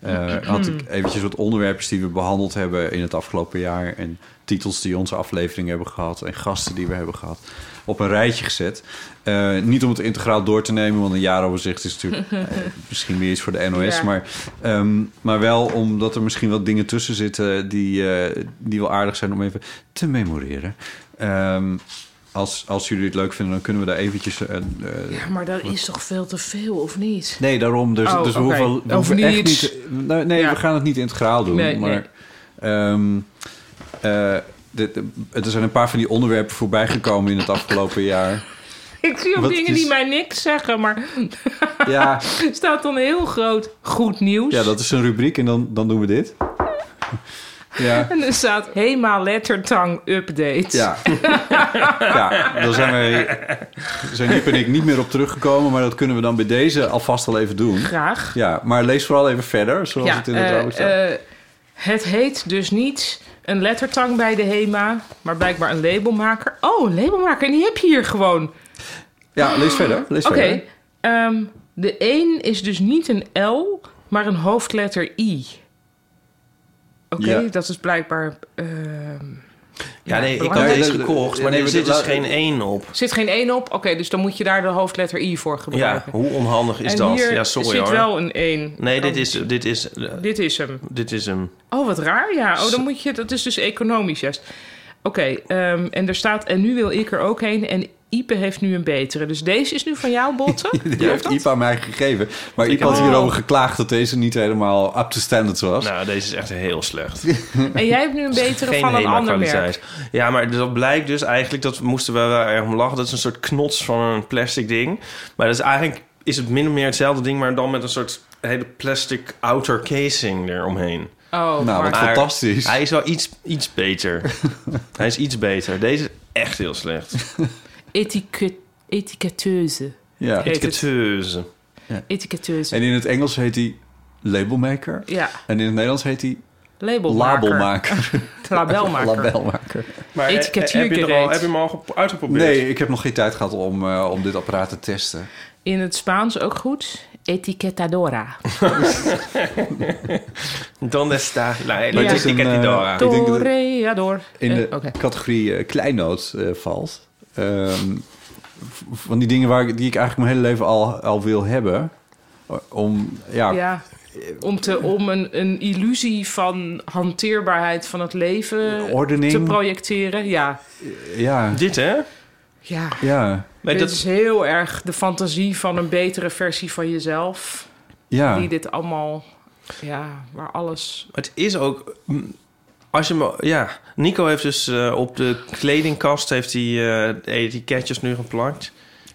eh, had ik eventjes wat onderwerpen die we behandeld hebben in het afgelopen jaar... en titels die onze aflevering hebben gehad... en gasten die we hebben gehad, op een rijtje gezet. Eh, niet om het integraal door te nemen, want een jaaroverzicht is natuurlijk... eh, misschien meer iets voor de NOS,
Ja.
maar... Ehm, maar wel omdat er misschien wel dingen tussen zitten die, eh, die wel aardig zijn om even te memoreren. Ehm, als, als jullie het leuk vinden, dan kunnen we daar eventjes. eh, eh,
Ja, maar dat is toch veel te veel, of niet?
nee, daarom. Dus,
Oh,
dus we
oké.
hoeven, we
Of
hoeven echt
niets.
niet. nou, nee,
Ja.
we gaan het niet integraal doen.
Nee,
maar ehm, eh, dit- er zijn een paar van die onderwerpen voorbij gekomen in het afgelopen
[LAUGHS]
jaar.
Ik zie ook
Wat
dingen
is-
die mij niks zeggen, maar
Ja,
er [LAUGHS] staat dan heel groot goed nieuws.
ja dat is een rubriek en dan, dan doen we dit. Ja.
En er staat Hema Lettertang Update.
Ja.
[LAUGHS]
ja, daar zijn wij, zijn Iep en ik niet meer op teruggekomen, maar dat kunnen we dan bij deze alvast al even doen.
Graag.
Ja, maar lees vooral even verder, zoals het in de
eh,
draaiboek staat.
eh, het heet dus niet een lettertang bij de HEMA, maar blijkbaar een labelmaker. Oh, een labelmaker, en die heb je hier gewoon.
ja, lees verder. Lees
Oké,
verder.
ehm, de 1 is dus niet een L, maar een hoofdletter I. Oké,
Ja.
dat is blijkbaar... ehm,
Ja, nee, ik had
belangrijk.
deze
Nee, dat-
gekocht, maar
nee,
er
maar
zit
dit-
dus geen één op.
Er zit geen één op. Oké, dus dan moet je daar de hoofdletter I voor
Ja,
gebruiken.
hoe onhandig is
en
dat?
hier
Ja, sorry
zit
hoor.
wel Oh. een 1.
Nee, dit is, dit, is, eh,
Dit is hem.
dit is hem.
Oh, wat raar. Ja, oh, dan moet je... Dat is dus economisch juist. Oké, ehm, en er staat... En nu wil ik er ook heen. En Ipe heeft nu een betere. Dus deze is nu van jou,
[LAUGHS]
Botte?
Die heeft IPA mij gegeven. Maar IPA had
heb-
hierover geklaagd dat deze niet helemaal up to standard was.
Nou, deze is echt heel slecht.
en jij hebt nu een betere
Geen
van een
hele
ander merk.
kwaliteit. Ja, maar dat blijkt dus eigenlijk, dat moesten we wel erg om lachen. Dat is een soort knots van een plastic ding. Maar dat is eigenlijk is het min of meer hetzelfde ding, maar dan met een soort hele plastic outer casing eromheen.
Oh,
Nou,
maar
wat
Maar
fantastisch.
Hij is wel iets, iets
[LAUGHS]
beter. hij is iets beter. Deze is echt heel slecht.
etiket, etiketeuze.
Ja.
Heet het.
Etiketeuze.
Etiketeuze.
En in het Engels heet hij labelmaker.
Ja,
En in het Nederlands heet hij
labelmaker.
labelmaker.
Labelmaker.
Labelmaker.
Maar eh, heb je,
Etiketuurgereed.
er al, heb je hem al gep- uitgeprobeerd?
Nee, ik heb nog geen tijd gehad om, eh, om dit apparaat te testen.
In het Spaans ook goed. Etiquetadora.
Dan sta la
Maar het is
een,
etiketidora.
eh, Ik denk dat het-
Toreador.
In de
Eh, oké.
categorie eh, kleinoot eh, valt. Ehm, v- van die dingen waar, ik- die ik eigenlijk mijn hele leven al, al wil hebben. Om,
Ah.
ja,
Ja. Om, te, om een, een illusie van hanteerbaarheid van het leven
Ordening.
te projecteren. Ja.
ja,
Dit, hè?
ja.
ja,
Maar
dit
dat,
is heel erg de fantasie van een betere versie van jezelf.
ja.
Die dit allemaal... Ja, waar alles...
het is ook... mm, Als je me, ja, Nico heeft dus eh, op de kledingkast heeft hij, eh, de etiketjes nu geplakt.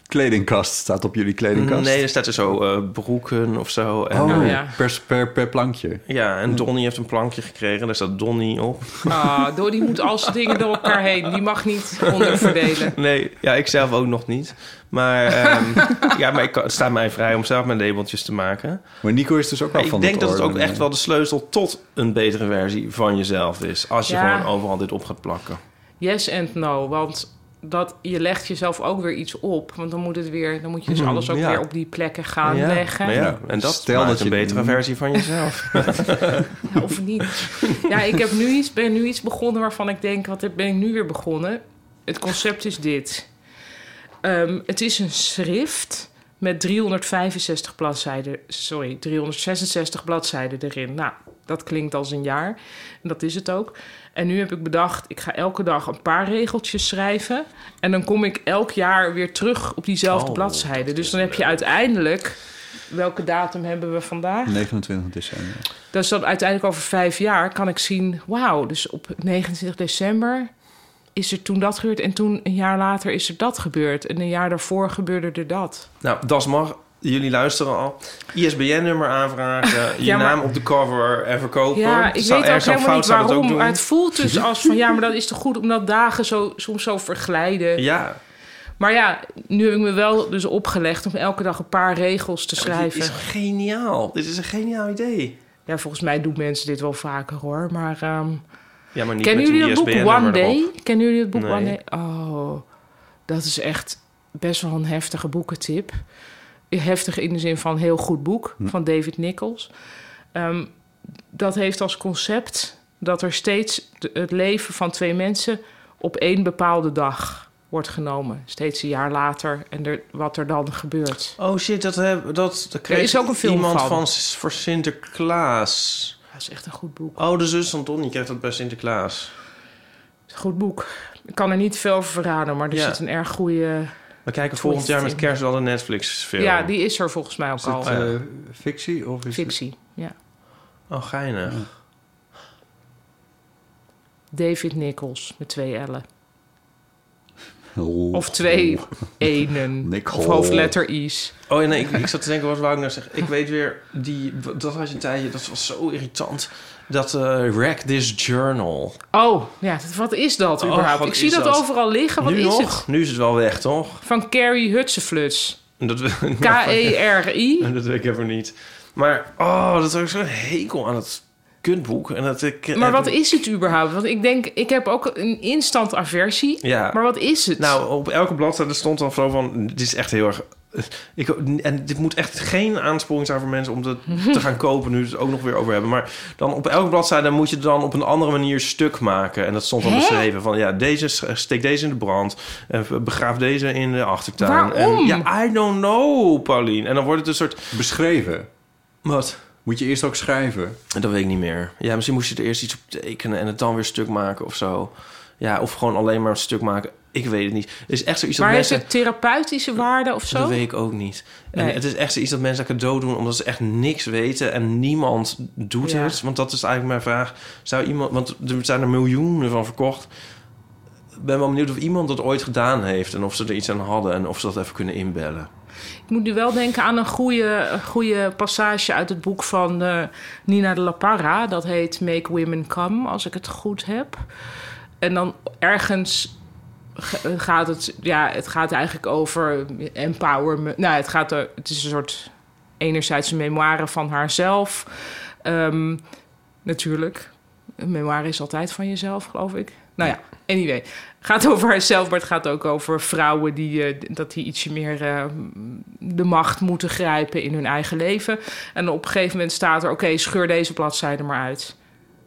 Kledingkast staat op jullie kledingkast.
Nee, er staat er zo eh, broeken of zo. En,
Oh, Hmm.
Oh,
eh,
ja.
per, per, per plankje.
ja, en Donnie heeft een plankje gekregen. Daar staat Donnie op.
Ah, door die moet al zijn dingen door elkaar heen. Die mag niet onderverdelen.
Nee, ja, ik zelf ook nog niet.
[LAUGHS]
Maar, ehm, ja, maar ik, kan- het staat mij vrij om zelf mijn labeltjes te maken.
Maar Nico is dus ook wel
Maar ik
van
denk dat het ook
ordenen.
echt wel de sleutel tot een betere versie van jezelf is. Als je
Ja.
gewoon overal dit op gaat plakken.
Yes and no, want dat, je legt jezelf ook weer iets op. Want dan moet, het weer, dan moet je dus alles ook
Mhm, ja.
weer op die plekken gaan
ja.
leggen.
maar ja,
Ja.
en dat
Stel
maakt
dat
een
je-
betere versie van jezelf.
Ja, [LAUGHS] of niet. ja, ik heb nu iets, ben nu iets begonnen waarvan ik denk... wat ben ik nu weer begonnen? Het concept is dit. Ehm, het is een schrift met 365 bladzijden... sorry, 366 bladzijden erin. Nou, dat klinkt als een jaar. En dat is het ook. En nu heb ik bedacht, ik ga elke dag een paar regeltjes schrijven... en dan kom ik elk jaar weer terug op diezelfde
Oh,
bladzijde. Dus dan heb je uiteindelijk... welke datum hebben we vandaag?
29 eh, december.
Dus dan uiteindelijk over vijf jaar kan ik zien... wauw, dus op 29 december is er toen dat gebeurd... en toen een jaar later is er dat gebeurd... en een jaar daarvoor gebeurde er dat.
nou, dat mag. Jullie luisteren al. ISBN-nummer
[LAUGHS]
aanvragen.
Ja,
je
maar-
naam op de cover en verkopen.
ja, ik
Zou
weet ook
ergens aan
helemaal niet
fout, zou dat
waarom,
ook
maar het
doen?
voelt dus als van... ja, maar dat is toch goed omdat dagen zo, soms zo verglijden.
Ja,
Maar ja, nu heb ik me wel dus opgelegd... om elke dag een paar regels te
dit is
schrijven.
geniaal. Dit is een geniaal idee.
Ja, volgens mij doen mensen dit wel vaker, hoor. Maar ehm,
Ja, maar niet
kennen
met
jullie
een
dat boek
ISBN-nummer
One Day?
erop.
Kennen jullie het boek
Nee.
One Day? Oh, dat is echt best wel een heftige boekentip. Heftig in de zin van heel goed boek
Hm.
van David Nichols. Ehm, dat heeft als concept dat er steeds de- het leven van twee mensen op één bepaalde dag wordt genomen. Steeds een jaar later en er, wat er dan gebeurt.
Oh shit, dat, heb, dat, dat kreeg
is ook een film
iemand
van.
van. S- voor Sinterklaas.
Dat is echt een goed boek.
Oh, de zus van Donnie kreeg dat bij Sinterklaas.
Goed boek. Ik kan er niet veel over verraden, maar er
Ja.
zit een erg goede...
We kijken
Twist
volgend jaar met
in.
kerst wel een Netflix-film.
Ja, die is er volgens mij ook
Is
al.
het eh, fictie of is
Fictie, ja.
Oh, geinig.
David Nichols met twee L'en.
het... Oh.
Of
[LAUGHS]
twee enen.
Nichols.
Of hoofdletter I's.
Oh ja, nee, ik, ik zat te denken, wat wou ik nou zeggen? Ik weet weer, die, dat was een tijdje, dat was zo irritant. Dat eh Rack This Journal.
Oh, ja, dat- wat is dat
Oh,
überhaupt?
wat
ik zie
is
dat,
dat?
overal liggen. Wat
nu
is
nog?
het?
Nu is het wel weg, toch?
Van Carrie Hutsefluts.
Dat, [LAUGHS]
E.
Nou,
K-E-R-I.
dat weet ik even niet. Maar, oh, dat is ook zo'n hekel aan het kutboek. En dat ik,
Maar wat is het überhaupt? Want ik denk, ik heb ook een instant aversie.
Ja.
Maar wat is het?
Nou, op elke bladzijde stond dan zo van... Dit is echt heel erg Ik, en dit moet echt geen aansporing zijn voor mensen om
[LAUGHS]
dat te gaan kopen, nu we het ook nog weer over hebben. Maar dan op elke bladzijde moet je het dan op een andere manier stuk maken. En dat stond dan
Hè?
beschreven van ja, deze, steek deze in de brand. En begraaf deze in de achtertuin. En,
Waarom?
ja, I don't know, Pauline. En dan wordt het een soort...
Beschreven.
Wat?
Moet je eerst ook schrijven.
Dat weet ik niet meer. Ja, misschien moest je er eerst iets op tekenen en het dan weer stuk maken of zo. Ja, of gewoon alleen maar stuk maken. Ik weet het niet. Het is echt zoiets
Maar
dat
heeft
mensen...
het therapeutische waarde of zo?
Dat weet ik ook niet. En
Nee.
het is echt zoiets dat mensen een cadeau doen omdat ze echt niks weten en niemand doet
Ja.
het. Want dat is eigenlijk mijn vraag. Zou iemand, want er zijn er miljoenen van verkocht. Ik ben wel benieuwd of iemand dat ooit gedaan heeft en of ze er iets aan hadden en of ze dat even kunnen inbellen.
Ik moet nu wel denken aan een goede, een goede passage uit het boek van eh, Nina de La Parra. Dat heet Make Women Come, als ik het goed heb. En dan ergens ge- eh, gaat het, ja, het gaat eigenlijk over empowerment. Nou, het, gaat er, het is een soort enerzijds een memoire van haarzelf. Ehm, natuurlijk, een memoire is altijd van jezelf, geloof ik. Nou ja, anyway. gaat over haarzelf, maar het gaat ook over vrouwen die, eh, dat die ietsje meer eh, de macht moeten grijpen in hun eigen leven. En op een gegeven moment staat er: oké, scheur deze bladzijde maar uit.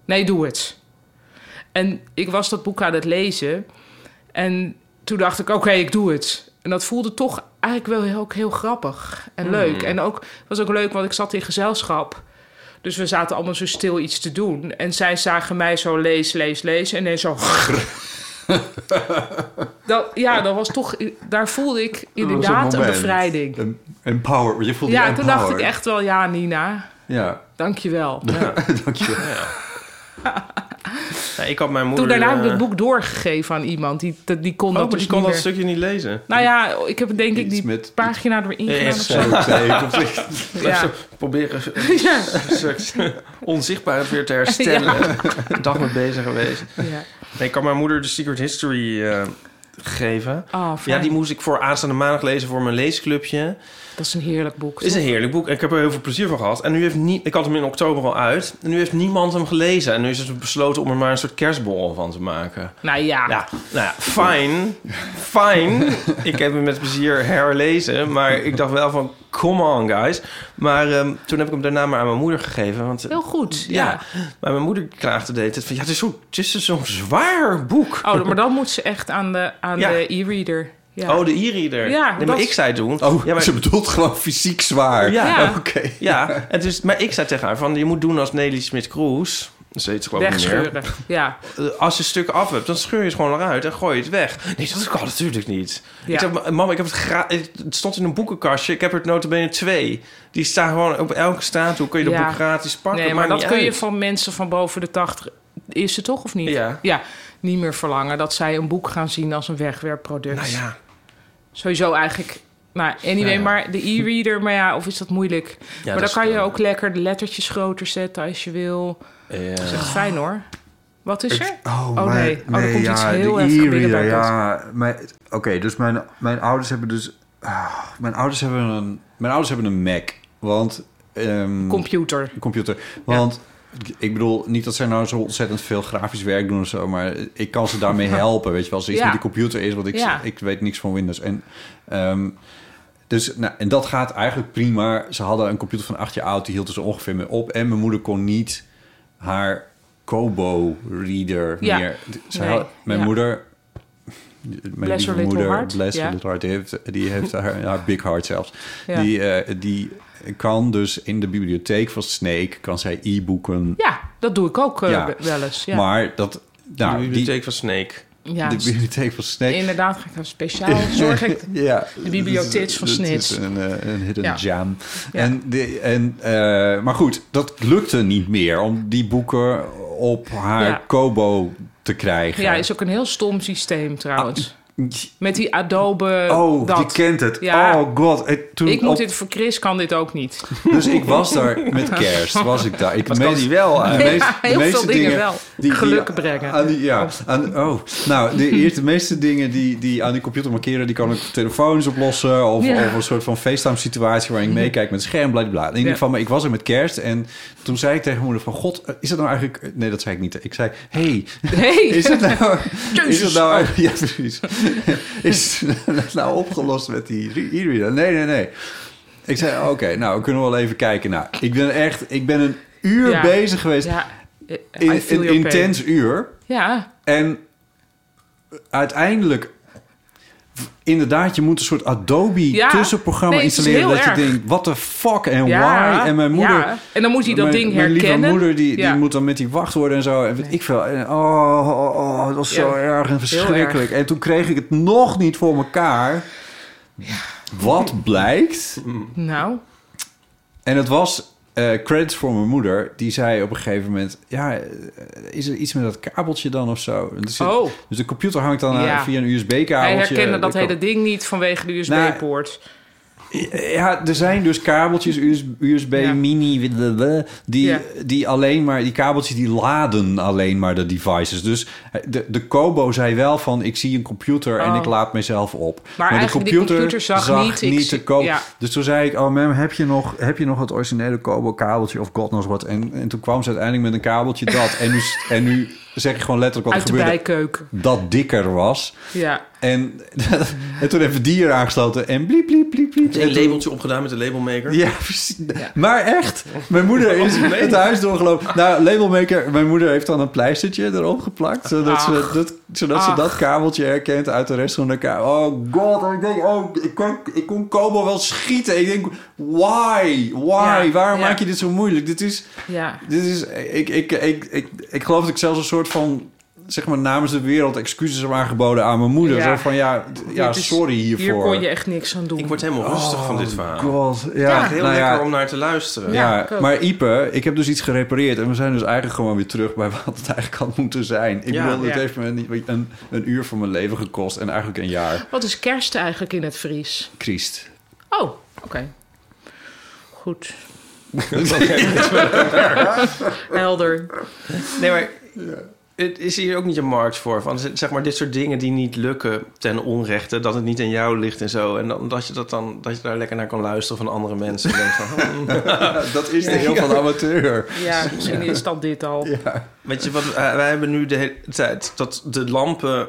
Nee, doe het. En ik was dat boek aan het lezen. En toen dacht ik: oké, ik doe het. En dat voelde toch eigenlijk wel heel, ook heel grappig
Hmm.
en leuk. En ook, het was ook leuk, want ik zat in gezelschap. Dus we zaten allemaal zo stil iets te doen. En zij zagen mij zo lees, lees, lees. En dan zo. [LAUGHS] dat, ja, dat was toch. Daar voelde ik inderdaad een
moment.
bevrijding.
Em- Empower. Je voelt je
Ja, toen dacht ik
empowered.
echt wel, ja, Nina,
Ja, [LAUGHS]
dankjewel.
dankjewel.
Nou, ik had mijn moeder.
Toen daarna heb ik
eh,
het boek doorgegeven aan iemand, die, dat- die kon
Oh,
dat
maar
dus
die kon
niet
dat
meer.
stukje niet lezen.
Nou ja, ik heb denk ik
Iets
die
met-
pagina erin gedaan
Ja,
of zo. Ja.
[LAUGHS] Proberen een
Ja.
soort onzichtbaarheid weer te herstellen. [LAUGHS] Een dag mee bezig geweest.
Ja.
Nee, ik kan mijn moeder de Secret History eh, geven.
Oh,
Ja,
fijn.
die moest ik voor aanstaande maandag lezen voor mijn leesclubje.
Dat is een heerlijk boek.
Is een heerlijk boek. en Ik heb er heel veel plezier van gehad. En nu heeft niet, ik had hem in oktober al uit. En nu heeft niemand hem gelezen. En nu is het besloten om er maar een soort kerstborrel van te maken.
toch? Nou ja.
Ja, nou ja, fijn. Fijn. Ik heb hem met plezier herlezen. Maar ik dacht wel van, come on guys. Maar ehm, toen heb ik hem daarna maar aan mijn moeder gegeven. Want,
heel goed. Ja.
ja. Maar mijn moeder klaagde de hele tijd van... Ja, het is zo- het is zo'n zwaar boek.
Oh, maar dan moet ze echt aan de aan
Ja.
de e-reader. Ja.
Oh, de e-reader.
Ja,
nee, maar
dat-
ik zei toen...
Oh,
ja, maar,
ze bedoelt gewoon fysiek zwaar.
Ja.
Ja.
Oké.
ja en dus, maar ik zei tegen haar van... Je moet doen als Nelly Smit-Kroes. Dat heet ze geloof ik niet meer.
Wegscheuren. Ja.
Eh, Als je stukken af hebt, dan scheur je het gewoon eruit en gooi je het weg. Nee, dat kan natuurlijk niet.
Ja.
Ik zeg, mama, ik heb het, gra- het stond in een boekenkastje. Ik heb er notabene twee. Die staan gewoon op elke straathoek. Kun je dat
Ja.
boek gratis pakken.
Nee, maar
Maakt
dat
niet
kun je
uit.
van mensen van boven de 80 is het toch of niet?
Ja.
Niet meer verlangen dat zij een boek gaan zien als een wegwerpproduct.
Nou ja,
Sowieso eigenlijk. Nou, anyway,
Ja, ja.
maar de e-reader, maar ja, of is dat moeilijk? maar
dat
dan
is-
kan je ook lekker de lettertjes groter zetten als je wil. Dat is
ja.
echt fijn hoor. Wat is er?
Oh,
nee.
mijn-
Oh, er komt iets heel
de
heftig binnen
e-reader,
bij
ja. Mijn- Oké, dus mijn, mijn ouders hebben dus... ah, mijn, ouders hebben een, mijn ouders hebben een Mac. Want... ehm,
Computer.
computer. Want ik bedoel, niet dat zij nou zo ontzettend veel grafisch werk doen of zo, maar ik kan ze daarmee
[LAUGHS]
helpen. Weet je wel, als er iets
Ja.
met die computer is, want ik,
Ja.
ik weet niks van Windows. En, ehm, dus, nou, en dat gaat eigenlijk prima. Ze hadden een computer van acht jaar oud, die hield er zo ongeveer mee op. En mijn moeder kon niet haar Kobo-reader
Ja.
meer. Ze
Nee.
had- mijn
Ja.
moeder. Mijn
Bless
lieve
her little
moeder,
heart.
bless her
Ja.
little heart, die heeft, die heeft haar, haar big heart zelfs.
Ja.
Die, eh, die kan dus in de bibliotheek van Snake kan zij e-boeken.
Ja, dat doe ik ook eh,
Ja.
be- wel eens. Ja,
Maar dat nou,
de
die-
bibliotheek van Snake.
ja
de
s-
bibliotheek van Snake.
inderdaad, ga ik daar
[LAUGHS]
speciaal zorg ik.
Ja,
De bibliotheek van
dat is- dat
Snits.
is Een, eh, een hidden
Ja.
jam.
Ja.
En de, en, eh, maar goed, dat lukte niet meer om die boeken op haar
Ja.
Kobo te krijgen.
Ja, is ook een heel stom systeem trouwens.
Ah,
Met die Adobe.
Oh,
dat.
die kent het.
Ja.
Oh god. En toen
ik moet
op-
dit voor Chris kan dit ook niet.
Dus
[LAUGHS]
ik was daar met kerst, was ik daar. Ik
Dat kan
meest-
die wel.
de
eh.
meest-
Ja,
de
heel
meeste
veel dingen wel. Gelukken brengen.
Aan die, ja, aan, oh, nou,
[LAUGHS]
de eerste meeste dingen die, die aan die computer markeren... die kan ik op telefoons oplossen... of,
Ja. Mhm.
of een soort van FaceTime-situatie waarin ik meekijk met het scherm, blablabla. In ieder
Ja.
geval, maar ik was er met kerst en toen zei ik tegen mijn moeder van... God, eh, is dat nou eigenlijk... Nee, dat zei ik niet. Ik zei, hey,
Nee.
[LAUGHS] is het nou... Is
Jezus. [LAUGHS]
het nou eigenlijk... Ja, precies. is dat nou opgelost met die e-reader? Nee, nee, nee. Ik zei, oké, nou, we kunnen wel even kijken. Nou, ik ben echt, ik ben een uur
Ja.
bezig geweest.
[LAUGHS] Ja, I
In-
feel your
een
pain.
intens uur.
Ja,
En uiteindelijk, inderdaad, je moet een soort Adobe
Ja.
tussenprogramma
Nee, het is
installeren.
heel
Dat
erg.
je denkt, what the fuck en
ja.
why? En mijn moeder...
ja. En dan moet hij dat
mijn,
ding
mijn lieve
herkennen.
moeder die, die
Ja.
moet dan met die wachtwoorden en zo. En weet ik veel. En, oh, oh, oh, dat was zo
Ja.
erg en verschrikkelijk. En toen kreeg ik het nog niet voor elkaar. Wat blijkt.
Nou,
En het was eh, credits voor mijn moeder. Die zei op een gegeven moment... Ja, eh, is er iets met dat kabeltje dan of zo? En er zit-
Oh.
Dus de computer hangt dan aan-
Ja.
via een USB-kabeltje.
hij herkende dat
De
hele ding niet vanwege de USB-poort.
Ja, er zijn dus kabeltjes, US- USB
Ja.
mini, blablabla, die,
Ja.
die alleen maar, die kabeltjes die laden alleen maar de devices. Dus de, de Kobo zei wel van, ik zie een computer en
Oh.
ik laat mezelf op. Maar, de
eigenlijk die
computer,
computer
zag,
zag
niet,
niet, ik
de
zie-
Kobo.
ja.
Dus toen zei ik, oh ma'am, heb je nog, heb je nog het originele Kobo kabeltje of god knows what? En, en toen kwam ze uiteindelijk met een kabeltje dat. en, nu,
[LAUGHS]
en nu zeg ik gewoon letterlijk wat
Uit
er
de
gebeurde.
bijkeuken.
Dat dikker was.
Ja.
En, [LAUGHS] en toen heeft die er aangesloten en bliep, bliep, bliep, bliep.
Een
En toen-
labeltje opgedaan met de labelmaker.
ja, precies. Maar echt, mijn moeder is
[LAUGHS]
Oh, nee.
het huis doorgelopen. Nou, labelmaker, mijn moeder heeft dan een pleistertje erop geplakt. Zodat, ze
Ach.
dat, zodat ze
Ach.
dat kabeltje herkent uit de rest van de kabel. Oh god, en ik denk, oh, ik kon, ik kon Kobo wel schieten. Ik denk, why? Why?
Ja,
Waarom
ja.
maak je dit zo moeilijk? Dit is,
Ja.
dit is ik, ik, ik, ik, ik geloof dat ik zelfs een soort van... Zeg maar namens de wereld excuses heb aangeboden aan mijn moeder.
Ja.
Zo van ja, d- ja
Dit is-
sorry hiervoor.
Hier kon je echt niks aan doen.
Ik word helemaal rustig van dit verhaal.
Oh, God, ja.
Het is heel
nou ja,
lekker om naar te luisteren.
Ja,
Ja, ik ook.
maar Ipe, ik heb dus iets gerepareerd. En we zijn dus eigenlijk gewoon weer terug bij wat het eigenlijk had moeten zijn. Ik
Ja.
bedoel, het
Ja.
heeft me niet- een, een uur van mijn leven gekost. En eigenlijk een jaar.
Wat is kerst eigenlijk in het Fries?
[LAUGHS] Christ.
Oh, oké. Goed. [LAUGHS] Helder.
Nee, maar het is hier ook niet een markt voor. Van, zeg maar, dit soort dingen die niet lukken ten onrechte, dat het niet aan jou ligt en zo. En dan, dat, je dat, dan, dat je daar lekker naar kan luisteren van andere mensen. En denkt van,
[LAUGHS]
hmm.
dat is de heel van de amateur.
Ja, misschien is dat dit al.
Weet je wat, eh, wij hebben nu de hele tijd dat de lampen...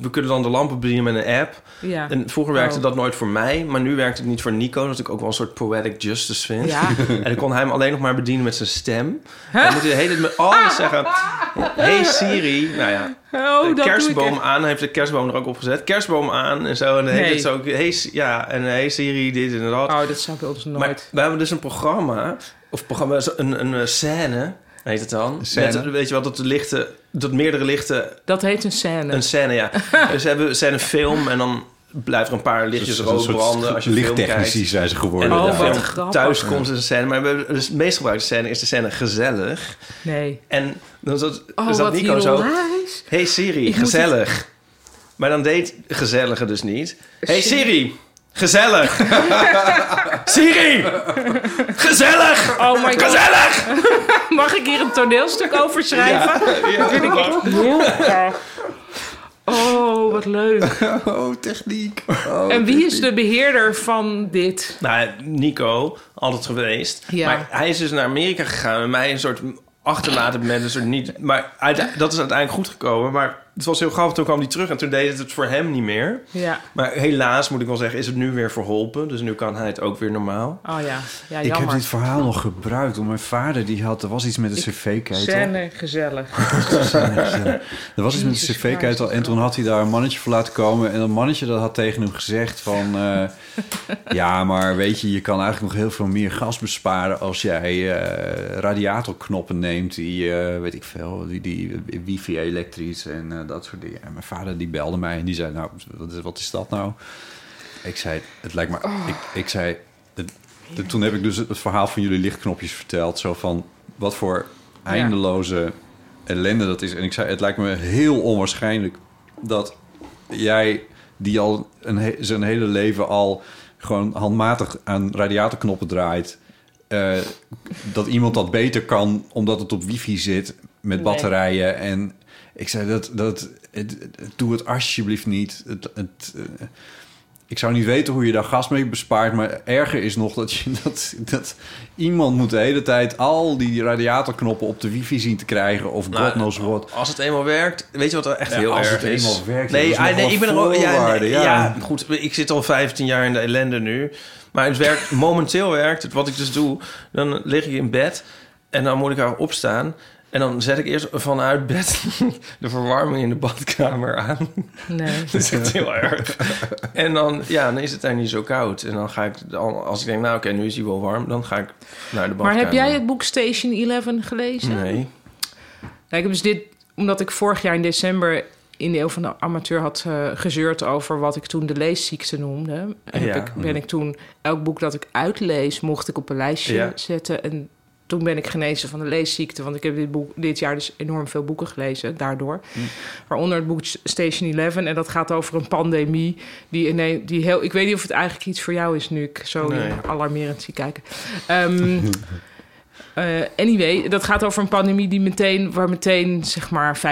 We kunnen dan de lampen bedienen met een app.
Ja.
En vroeger werkte
Oh.
dat nooit voor mij, maar nu werkt het niet voor Nico. Dat ik ook wel een soort poetic justice vind.
Ja.
En dan kon hij hem alleen nog maar bedienen met zijn stem. Dan moet hij de hele tijd met alles
[LAUGHS]
zeggen. Hey Siri. Nou ja,
Oh, dat
de
doe ik
kerstboom
echt.
aan. Hij heeft de kerstboom er ook op gezet. Kerstboom aan en zo. En de hele
Nee.
tijd zo. Hey, Si- ja, en hey Siri, dit en dat.
Oh, dat zou ik ons
maar
nooit.
we hebben dus een programma, of programma, zo- een, een eh, scène, heet het dan.
Scène.
Met, weet je wel, dat de lichten, dat meerdere lichten
Dat heet een scène.
een scène,
[LAUGHS]
ja. dus ze hebben een scène film en dan blijft er een paar lichtjes
Dus Een
rood
soort
branden als je film kijkt.
Lichttechnici zijn ze
En
geworden.
Oh,
de
daar.
wat
film
grappig.
thuiskomt is een scène. Maar we hebben, dus de meest gebruikte scène is de scène gezellig.
Nee.
En dan zat,
Oh,
dan zat
wat
Nico zo...
hilarisch.
Hey Siri,
Ik moet
gezellig. Maar dan deed gezellige dus niet. Hey Siri,
[LAUGHS]
gezellig. Siri, gezellig.
Oh my god.
Gezellig!
Mag ik hier een toneelstuk over schrijven?
Ja, vind ik wel.
[LAUGHS] Heel graag. Oh, wat leuk.
[LAUGHS] Oh, techniek.
En wie is de beheerder van dit?
Nou, Nico, altijd geweest.
Ja.
Maar hij is dus naar Amerika gegaan en mij een soort achterlaten met een soort niet... Maar uite- dat is uiteindelijk goed gekomen. Maar het was heel grappig, toen kwam hij terug en toen deed het het voor hem niet meer.
Ja.
Maar helaas, moet ik wel zeggen, is het nu weer verholpen. Dus nu kan hij het ook weer normaal.
Oh ja, ja
Ik heb
jammer.
dit verhaal nog gebruikt. Want mijn vader die had, er was iets met een cv-ketel.
Scène gezellig.
Er was iets met de
Jezus
cv-ketel en toen had hij daar een mannetje voor laten komen. En dat mannetje dat had tegen hem gezegd van... eh, ja, maar weet je, je kan eigenlijk nog heel veel meer gas besparen... als jij eh, radiatorknoppen neemt die, eh, weet ik veel, die, die wifi elektrisch en eh, dat soort dingen. En mijn vader die belde mij en die zei, nou, wat is, wat is dat nou? Ik zei, het lijkt me... Ik, ik zei, het- het- toen heb ik dus het, het verhaal van jullie lichtknopjes verteld. Zo van, wat voor eindeloze ellende dat is. En ik zei, het lijkt me heel onwaarschijnlijk dat jij, die al een he- zijn hele leven al gewoon handmatig aan radiatorknoppen draait, eh, dat iemand dat beter kan omdat het op wifi zit met
Nee.
batterijen. En ik zei, dat, dat, het- het- doe het alsjeblieft niet. Het, het, eh,
ik zou niet weten hoe je daar gas mee bespaart. Maar erger is nog dat, je,
[LAUGHS]
dat, dat iemand moet de hele tijd al die radiatorknoppen op de wifi zien te krijgen. Of
Nou,
god knows what.
Als het eenmaal werkt, weet je wat er echt
Ja,
heel
als
erg
het
is?
eenmaal werkt, dat
nee,
is
ah,
nog
nee,
wat
ik ben er ook. Ja,
voorwaarde,
nee,
ja.
ja. goed. Ik zit al 15 jaar in de ellende nu. Maar het
[LAUGHS]
werkt, momenteel werkt het. Wat ik dus doe, dan lig ik in bed en dan moet ik haar opstaan. En dan zet ik eerst vanuit bed [LAUGHS] de verwarming in de badkamer aan. [LAUGHS]
Nee.
Dat is echt
[LAUGHS]
heel erg. En dan, ja, dan is het daar niet zo koud. En dan ga ik, dan, als ik denk, nou oké, nu is hij wel warm, dan ga ik naar de badkamer.
Maar heb jij het boek Station 11 gelezen?
Nee.
Nou, ik heb dus dit, omdat ik vorig jaar in december in de Eeuw van de Amateur had eh, gezeurd over wat ik toen de leesziekte noemde. En
Ja.
heb ik, ben ik toen, elk boek dat ik uitlees, mocht ik op een lijstje
Ja.
zetten. En toen ben ik genezen van de leesziekte, want ik heb dit, boek, dit jaar dus enorm veel boeken gelezen daardoor. Waaronder het boek Station 11, en dat gaat over een pandemie. Die, ineen- die heel, ik weet niet of het eigenlijk iets voor jou is nu ik zo
Nee.
alarmerend zie kijken. Ehm, eh, anyway, dat gaat over een pandemie die meteen, waar meteen zeg maar 95%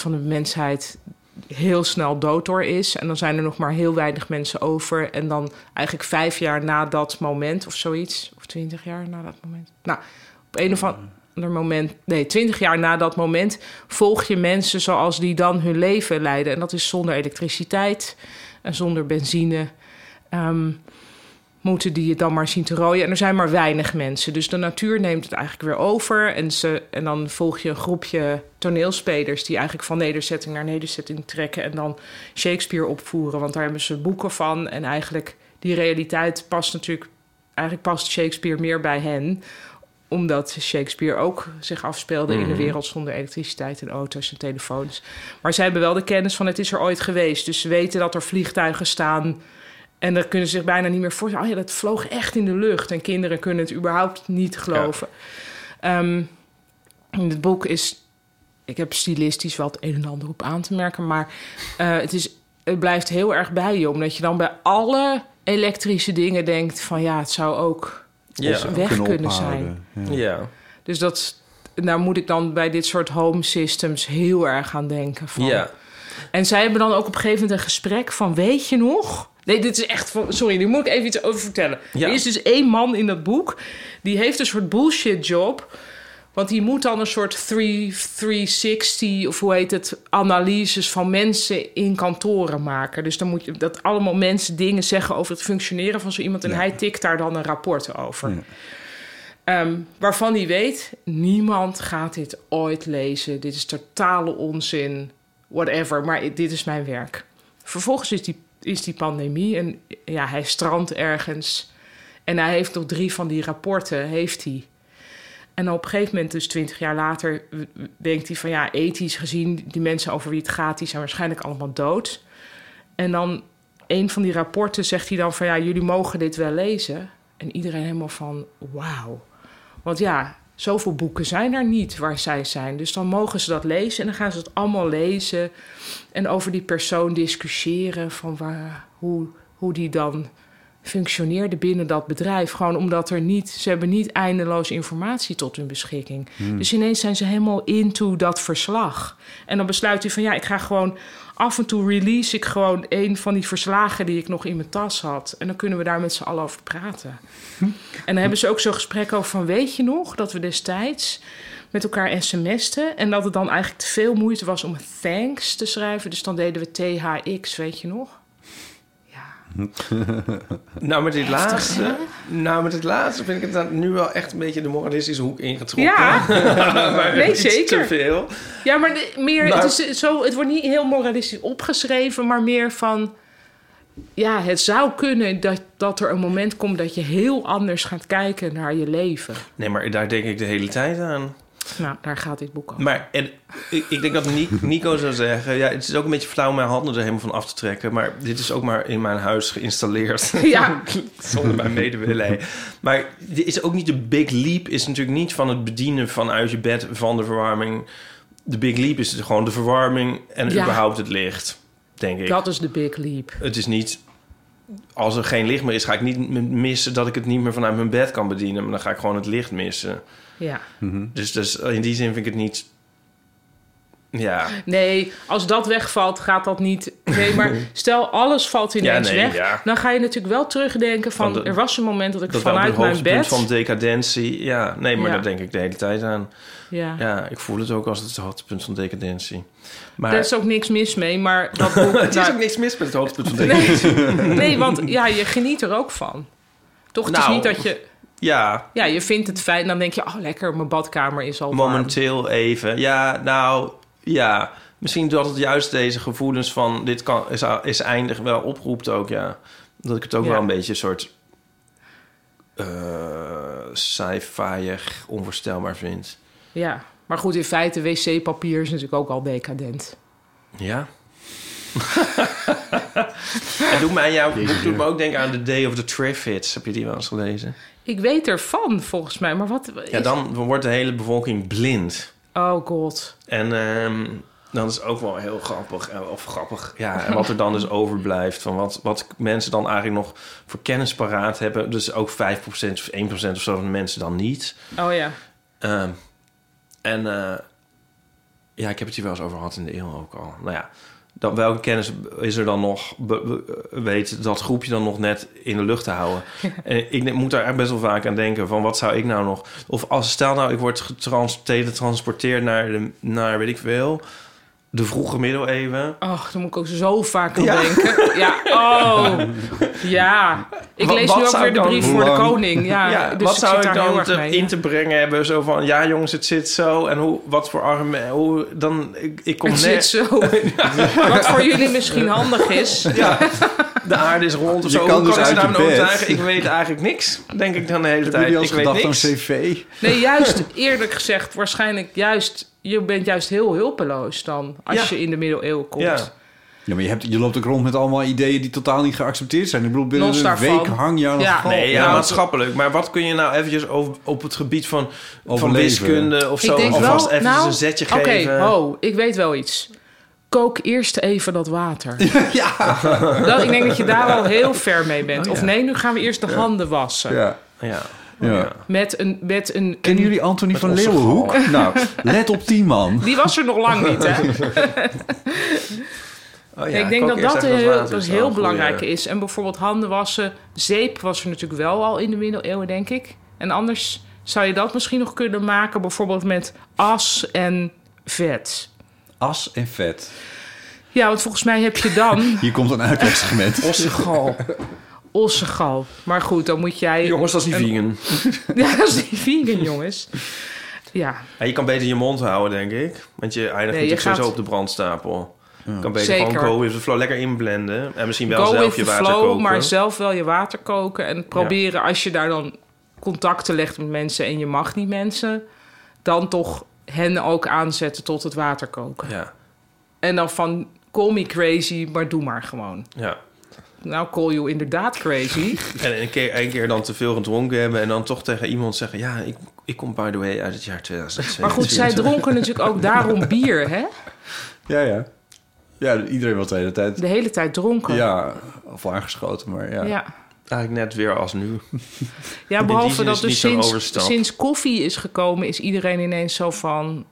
van de mensheid heel snel dood door is. En dan zijn er nog maar heel weinig mensen over. En dan eigenlijk vijf jaar na dat moment of zoiets, of twintig jaar na dat moment. Nou, op een of ander moment, nee, twintig jaar na dat moment volg je mensen zoals die dan hun leven leiden. En dat is zonder elektriciteit en zonder benzine. Ehm, moeten die het dan maar zien te rooien. En er zijn maar weinig mensen. Dus de natuur neemt het eigenlijk weer over. En, ze, en dan volg je een groepje toneelspelers... die eigenlijk van nederzetting naar nederzetting trekken... en dan Shakespeare opvoeren. Want daar hebben ze boeken van. En eigenlijk die realiteit past natuurlijk... eigenlijk past Shakespeare meer bij hen omdat Shakespeare ook zich afspeelde in de wereld zonder elektriciteit en auto's en telefoons. Maar zij hebben wel de kennis van het is er ooit geweest. Dus ze weten dat er vliegtuigen staan en dan kunnen ze zich bijna niet meer voorstellen. Oh ja, dat vloog echt in de lucht. En kinderen kunnen het überhaupt niet geloven. Ehm, in het boek is... Ik heb stilistisch wat een en ander op aan te merken. Maar eh, het, is, het blijft heel erg bij je. Omdat je dan bij alle elektrische dingen denkt... van ja, het zou ook
Ja.
weg kunnen,
ophouden.
zijn.
Ja.
Dus dat, daar moet ik dan bij dit soort home systems heel erg aan denken. Van,
Ja.
en zij hebben dan ook op een gegeven moment een gesprek van... weet je nog? Nee, dit is echt... Van, sorry, nu moet ik even iets over vertellen.
Ja.
Er is dus één man in dat boek... die heeft een soort bullshit job... Want die moet dan een soort 3, 360 of hoe heet het, analyses van mensen in kantoren maken. Dus dan moet je dat allemaal mensen dingen zeggen over het functioneren van zo iemand. En hij tikt daar dan een rapport over. Ehm, waarvan hij weet, niemand gaat dit ooit lezen. Dit is totale onzin, whatever. Maar i- dit is mijn werk. Vervolgens is die, is die pandemie en ja, hij strandt ergens. En hij heeft nog drie van die rapporten, heeft hij. En op een gegeven moment, dus twintig jaar later, w- w- denkt hij van ja, ethisch gezien, die mensen over wie het gaat, die zijn waarschijnlijk allemaal dood. En dan een van die rapporten zegt hij dan van ja, jullie mogen dit wel lezen. En iedereen helemaal van wauw. Want ja, zoveel boeken zijn er niet waar zij zijn. Dus dan mogen ze dat lezen en dan gaan ze het allemaal lezen. En over die persoon discussiëren van waar, hoe, hoe die dan functioneerde binnen dat bedrijf. Gewoon omdat er niet, ze hebben niet eindeloos informatie tot hun beschikking. Dus ineens zijn ze helemaal into dat verslag. En dan besluit hij van ja, ik ga gewoon af en toe release ik gewoon een van die verslagen die ik nog in mijn tas had. En dan kunnen we daar met z'n allen over praten. En dan hebben ze ook zo'n gesprek over van... weet je nog dat we destijds met elkaar sms'ten... en dat het dan eigenlijk te veel moeite was om thanks te schrijven. Dus dan deden we THX, weet je nog?
Nou, met dit laatste, nou, met dit laatste vind ik het dan nu wel echt een beetje de moralistische hoek ingetrokken. [LAUGHS]
Ja,
Maar
nee,
iets
zeker.
Te veel. Nou.
ja maar de- meer,
Maar-
het, is zo, het wordt niet heel moralistisch opgeschreven... maar meer van... ja, het zou kunnen dat, dat er een moment komt... dat je heel anders gaat kijken naar je leven.
Nee, maar daar denk ik de hele tijd aan.
Nou, daar gaat dit boek over.
Maar en, ik, ik denk dat Ni- Nico zou zeggen... Ja, het is ook een beetje flauw om mijn handen er helemaal van af te trekken. Maar dit is ook maar in mijn huis geïnstalleerd.
[LAUGHS] Ja.
[LAUGHS] Zonder mijn medewillen. Maar dit is ook niet de big leap. Is natuurlijk niet van het bedienen vanuit je bed van de verwarming. De big leap is gewoon de verwarming en
Ja.
überhaupt het licht. Denk ik.
Dat is de big leap.
Het is niet... Als er geen licht meer is, ga ik niet m- missen dat ik het niet meer vanuit mijn bed kan bedienen. Maar dan ga ik gewoon het licht missen.
Ja.
Dus, dus in die zin vind ik het niet... Ja,
Nee, als dat wegvalt, gaat dat niet. Nee, maar stel alles valt ineens
Ja, nee,
weg.
ja.
Dan ga je natuurlijk wel terugdenken van...
Van de-
er was een moment dat ik
dat was
vanuit
het
mijn
hoogtepunt
bed...
van decadentie. Ja, nee, maar
Ja.
daar denk ik de hele tijd aan.
ja.
Ja, ik voel het ook als het hoogtepunt van decadentie. Maar
Daar is ook niks mis mee,
[LAUGHS]
maar dat boek...
het
Dus
is
daar-
ook niks mis met het hoogtepunt van decadentie.
nee, nee, want ja, je geniet er ook van. Toch, het is
Nou.
niet dat je...
Ja,
Ja, je vindt het fijn. Dan denk je, oh lekker, mijn badkamer is al warm.
momenteel even. Ja, nou, ja. Misschien dat het juist deze gevoelens van dit kan, is, is eindig wel oproept ook, ja. Dat ik het ook
Ja.
wel een beetje een soort eh sci-fi-ig, onvoorstelbaar vind.
Ja, maar goed, in feite, wc-papier is natuurlijk ook al decadent.
Ja. [LAUGHS] en doet mij jouw boek doet me ook denken aan The Day of the Triffids. Heb je die wel eens gelezen?
Ik weet ervan, volgens mij, maar wat...
Ja,
is-
dan wordt de hele bevolking blind.
Oh god.
En ehm, dan is het ook wel heel grappig. eh, Of grappig. Ja, en wat er dan dus overblijft. Van wat, wat mensen dan eigenlijk nog voor kennis paraat hebben. Dus ook 5% of 1% of zo van de mensen dan niet.
Oh ja.
Ehm, en eh, ja, ik heb het hier wel eens over gehad in de eeuw ook al. Nou ja, dat, welke kennis is er dan nog? be- be- weet dat groepje dan nog net in de lucht te
[LAUGHS]
houden? en ik ne- moet daar echt best wel vaak aan denken. Van wat zou ik nou nog? Of als stel nou, ik word getrans- teletransporteerd naar, de, naar weet ik veel, de vroege middeleeuwen.
Oh, daar moet ik ook zo vaak aan denken. Ja, oh. Ja. Ik
Wat-
lees
wat
nu ook
zou
weer
ik
de
dan-
brief
hoe
voor de
lang?
koning. Ja,
ja,
dus
wat
ik zit
zou ik
daar heel
dan
erg
te-
mee. [LAUGHS]
in te brengen hebben? Zo van, ja jongens, het zit zo. En hoe, wat voor argument... Hoe, dan, ik, ik kom
Het zit
net... [LAUGHS]
zo. Wat voor jullie misschien handig is.
Ja, [LAUGHS] de aarde is rond of
Je
zo.
kan
Hoe
dus
kan ik
uit
nou ze daarmee
je bed.
overtuigen? Ik weet eigenlijk niks, denk ik dan de hele
Heb
tijd.
je als
Ik weet
gedacht aan
niks.
cv?
Nee, juist eerlijk gezegd, waarschijnlijk juist... Je bent juist heel hulpeloos dan als
Ja.
je in de middeleeuwen komt.
Ja.
Ja, maar je, hebt, je loopt ook rond met allemaal ideeën die totaal niet geaccepteerd zijn. Ik bedoel, binnen
Los
een
daarvan.
week hang je aan
Ja.
een val.
Nee, Oh, ja,
Ja,
maatschappelijk. Maar wat kun je nou eventjes over, op het gebied van, van
Overleven.
wiskunde of zo... alvast eventjes een zetje
nou, Oké,
geven?
ho, ik weet wel iets. Kook eerst even dat
[LAUGHS]
water. ja. Dat, ik denk dat je daar al heel ver mee bent.
Oh,
Of nee, nu gaan we eerst de handen wassen.
ja.
Ja.
Ja.
Met een... Met een
Kennen jullie Anthony van Leeuwenhoek? Nou, let op die man.
die was er nog lang niet,
[LAUGHS]
hè?
Oh,
ik denk
kook
dat dat
eerst even
heel,
water,
dat
is wel
heel
een
belangrijk
goeie.
is. En bijvoorbeeld handen wassen. Zeep was er natuurlijk wel al in de middeleeuwen, denk ik. En anders zou je dat misschien nog kunnen maken... bijvoorbeeld met as en vet.
As en vet.
Ja, want volgens mij heb je dan...
[LAUGHS]
Hier komt een uitlegsegment.
Ossegal. Ossegal. Maar goed, dan moet jij...
Jongens, dat is niet vegan.
[LAUGHS] Ja, dat is niet vegan, jongens. Ja,
Ja, je kan beter je mond houden, denk ik. Want je eindigt
je
natuurlijk
gaat-
sowieso op de brandstapel. Je kan beter
Zeker.
gewoon go with the flow lekker inblenden. En misschien wel
go
zelf
with
je
the
water
flow,
koken.
maar zelf wel je water koken. En proberen als je daar dan contacten legt met mensen en je mag niet mensen... dan toch hen ook aanzetten tot het water koken.
Ja,
En dan van call me crazy, maar doe maar gewoon.
ja.
Nou, call you inderdaad crazy.
[LAUGHS] En een keer, een keer dan te veel gedronken hebben en dan toch tegen iemand zeggen... ja, ik, ik kom by the way uit het jaar 2002.
Maar goed, zij dronken natuurlijk ook daarom bier, hè?
Ja, ja. Ja, iedereen was de hele tijd.
De hele tijd dronken.
Ja, of aangeschoten, maar ja.
ja.
Eigenlijk net weer als nu.
Ja,
In die
behalve
zin
dat
is
dus
het niet zo'n
sinds,
overstap.
sinds koffie is gekomen, is iedereen ineens zo van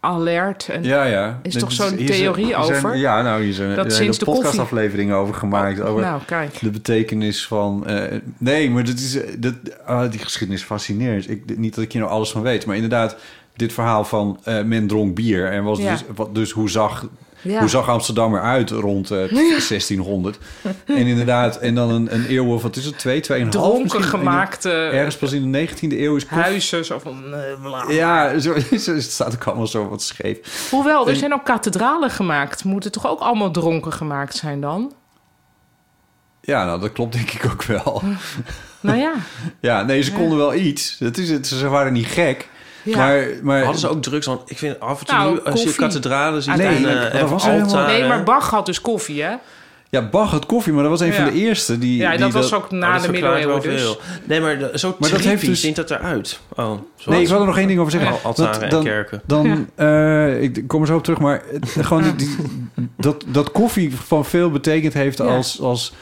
alert. En,
Ja, ja.
Is
Dit
toch zo'n
hier zijn-
theorie
er zijn-
over?
Ja, nou, hier zijn
Dat
er zijn hele
sinds de koffie-
podcastafleveringen over gemaakt. Over
Nou, kijk.
de betekenis van... eh, nee, maar dat is, eh, dat, ah, die geschiedenis fascineert. Ik, niet dat ik hier nou alles van weet. Maar inderdaad, dit verhaal van eh, men dronk bier. En was
Ja.
dus, wat, dus hoe, zag,
Ja.
hoe zag Amsterdam eruit rond eh,
[LAUGHS]
1600? en inderdaad, en dan een, een eeuw of wat is het? Twee, tweeënhalf
Dronken
misschien?
gemaakte
En Ergens pas in de 19e eeuw is koffie.
huizen. Zo van, eh, bla.
Ja, zo, [LAUGHS] zo- het staat ook allemaal zo wat scheef.
Hoewel, er zijn ook kathedralen gemaakt. Moeten toch ook allemaal dronken gemaakt zijn dan?
Ja, nou, dat klopt denk ik ook wel.
Nou ja.
Ja, nee, ze konden wel iets. Dat is het. Ze waren niet gek.
Ja.
Maar, maar
Hadden ze ook drugs? Want ik vind af en toe
Nou,
nu, als je
koffie.
kathedralen ziet
Nee,
en, eh,
dat
en
was er helemaal-
altaren... oh,
Nee, maar Bach had dus koffie, hè?
ja, Bach had koffie, maar dat was een
Ja.
van de eerste die.
Ja,
die
dat was ook
Oh,
na
dat
de
verklaart
middeleeuwen
wel
dus.
veel. Nee, maar de- zo
Maar dat heeft dus-
ziet dat eruit. Oh,
Nee, ik
zo
wil er nog één ding over zeggen.
Ja, altaren en
dan,
kerken.
Dan, eh, ik kom er zo op terug, maar het- gewoon die- die- dat, dat koffie van veel betekend heeft
Ja.
als, als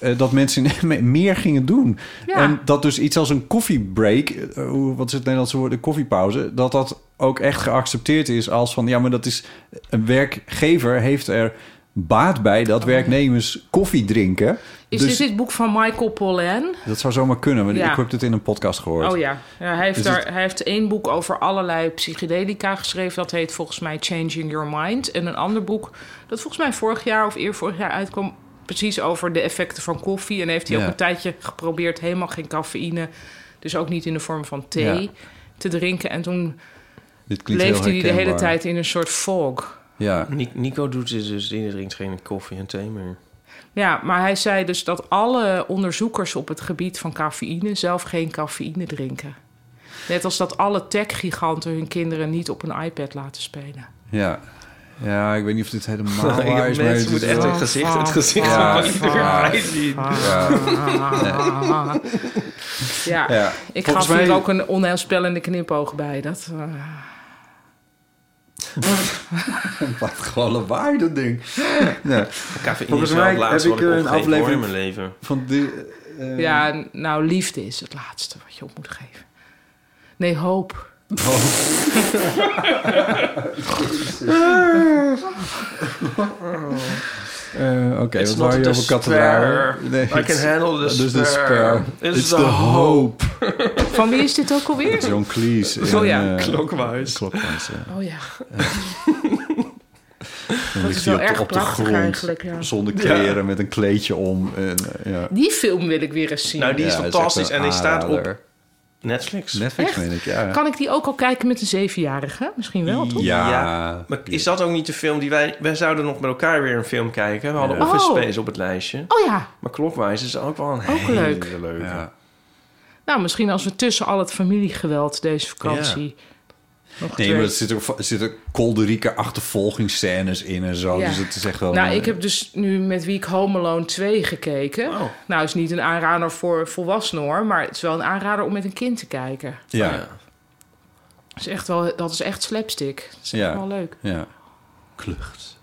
eh, dat mensen [LAUGHS] in Emmen meer gingen doen.
Ja.
En dat dus iets als een koffiebreak, eh, hoe- wat is het Nederlandse woord, een koffiepauze, dat dat ook echt geaccepteerd is als van, ja, maar dat is, een werkgever heeft er baat bij dat werknemers koffie drinken.
Oh, Is
dus
dit het boek van Michael Pollan?
dat zou zomaar kunnen, want
Ja.
ik heb dit in een podcast gehoord.
Oh ja, ja hij, heeft
Is
daar,
Dus het-
hij heeft één boek over allerlei psychedelica geschreven. Dat heet volgens mij Changing Your Mind. En een ander boek dat volgens mij vorig jaar of eer vorig jaar uitkwam... precies over de effecten van koffie. En heeft hij
Ja.
ook een tijdje geprobeerd helemaal geen cafeïne... dus ook niet in de vorm van thee
Ja.
te drinken. En toen
Dit klinkt heel
leefde hij de hele
herkenbaar.
tijd in een soort fog...
Ja,
Ni- Nico doet dit dus, die drinkt geen koffie en thee meer.
Ja, maar hij zei dus dat alle onderzoekers op het gebied van cafeïne zelf geen cafeïne drinken. Net als dat alle tech-giganten hun kinderen niet op een iPad laten spelen.
ja. Ja, ik weet niet of dit helemaal
[LAUGHS] Ik heb
waar is, maar
mensen
het is
moeten echt
wel-
het gezicht, het gezicht
Ja,
van iedereen
ja.
uitzien.
[LAUGHS]
Ja,
Ja.
ik
Volgens
gaf hier
mij-
ook een onheilspellende knipoog bij. Dat, eh,
Wat gewoon lawaai, dat ding. Ja.
Cafeïne
Volgens
is wel
mij
het laatste
heb
wat
ik, eh,
ik
een
opgegeven hoor in
aflevering-
mijn
[LAUGHS]
leven.
Van die, eh,
ja, nou, liefde is het laatste wat je op moet geven. Nee, hoop.
eh, Oké,
It's
wat
not
waar je
the
over kathedraal?
spare. I can handle the
Dus de
spare.
spare.
It's
It's
the
the hope.
Van wie is dit ook alweer?
John Cleese. in,
Oh ja,
eh,
Klokwijs.
Clockwise, ja.
Oh ja,
Dan
dat
ligt
is
hij
wel
op de-
erg
op de
prachtig
grond.
eigenlijk. Ja.
Zonder kleren, met een kleedje om. En, eh, ja.
Die film wil ik weer eens zien.
Nou, die is
Ja, echt
fantastisch
een
en die staat op
aanrader.
Netflix.
Netflix,
Echt?
meen ik, ja.
Kan ik die ook al kijken met een zevenjarige? Misschien wel, toch?
Ja.
Maar is dat ook niet de film die wij... Wij zouden nog met elkaar weer een film kijken. We hadden
Ja.
Office
Oh.
Space op het lijstje.
Oh ja,
Maar Clockwise is ook wel een
ook
hele
leuk.
leuke.
Ja.
Nou, misschien als we tussen al het familiegeweld deze vakantie... Nog
Nee,
twee-
maar er zitten, ook va- er zitten kolderieke achtervolgingsscènes in en zo.
Ja.
Dus het is echt wel...
Nou, ik heb dus nu met Week Home Alone 2 gekeken.
Oh.
Nou, is niet een aanrader voor volwassenen hoor... maar het is wel een aanrader om met een kind te kijken.
nou
Ja,
Dat is echt, wel, dat is echt slapstick. Dat is echt
Ja.
wel leuk.
ja. Klucht.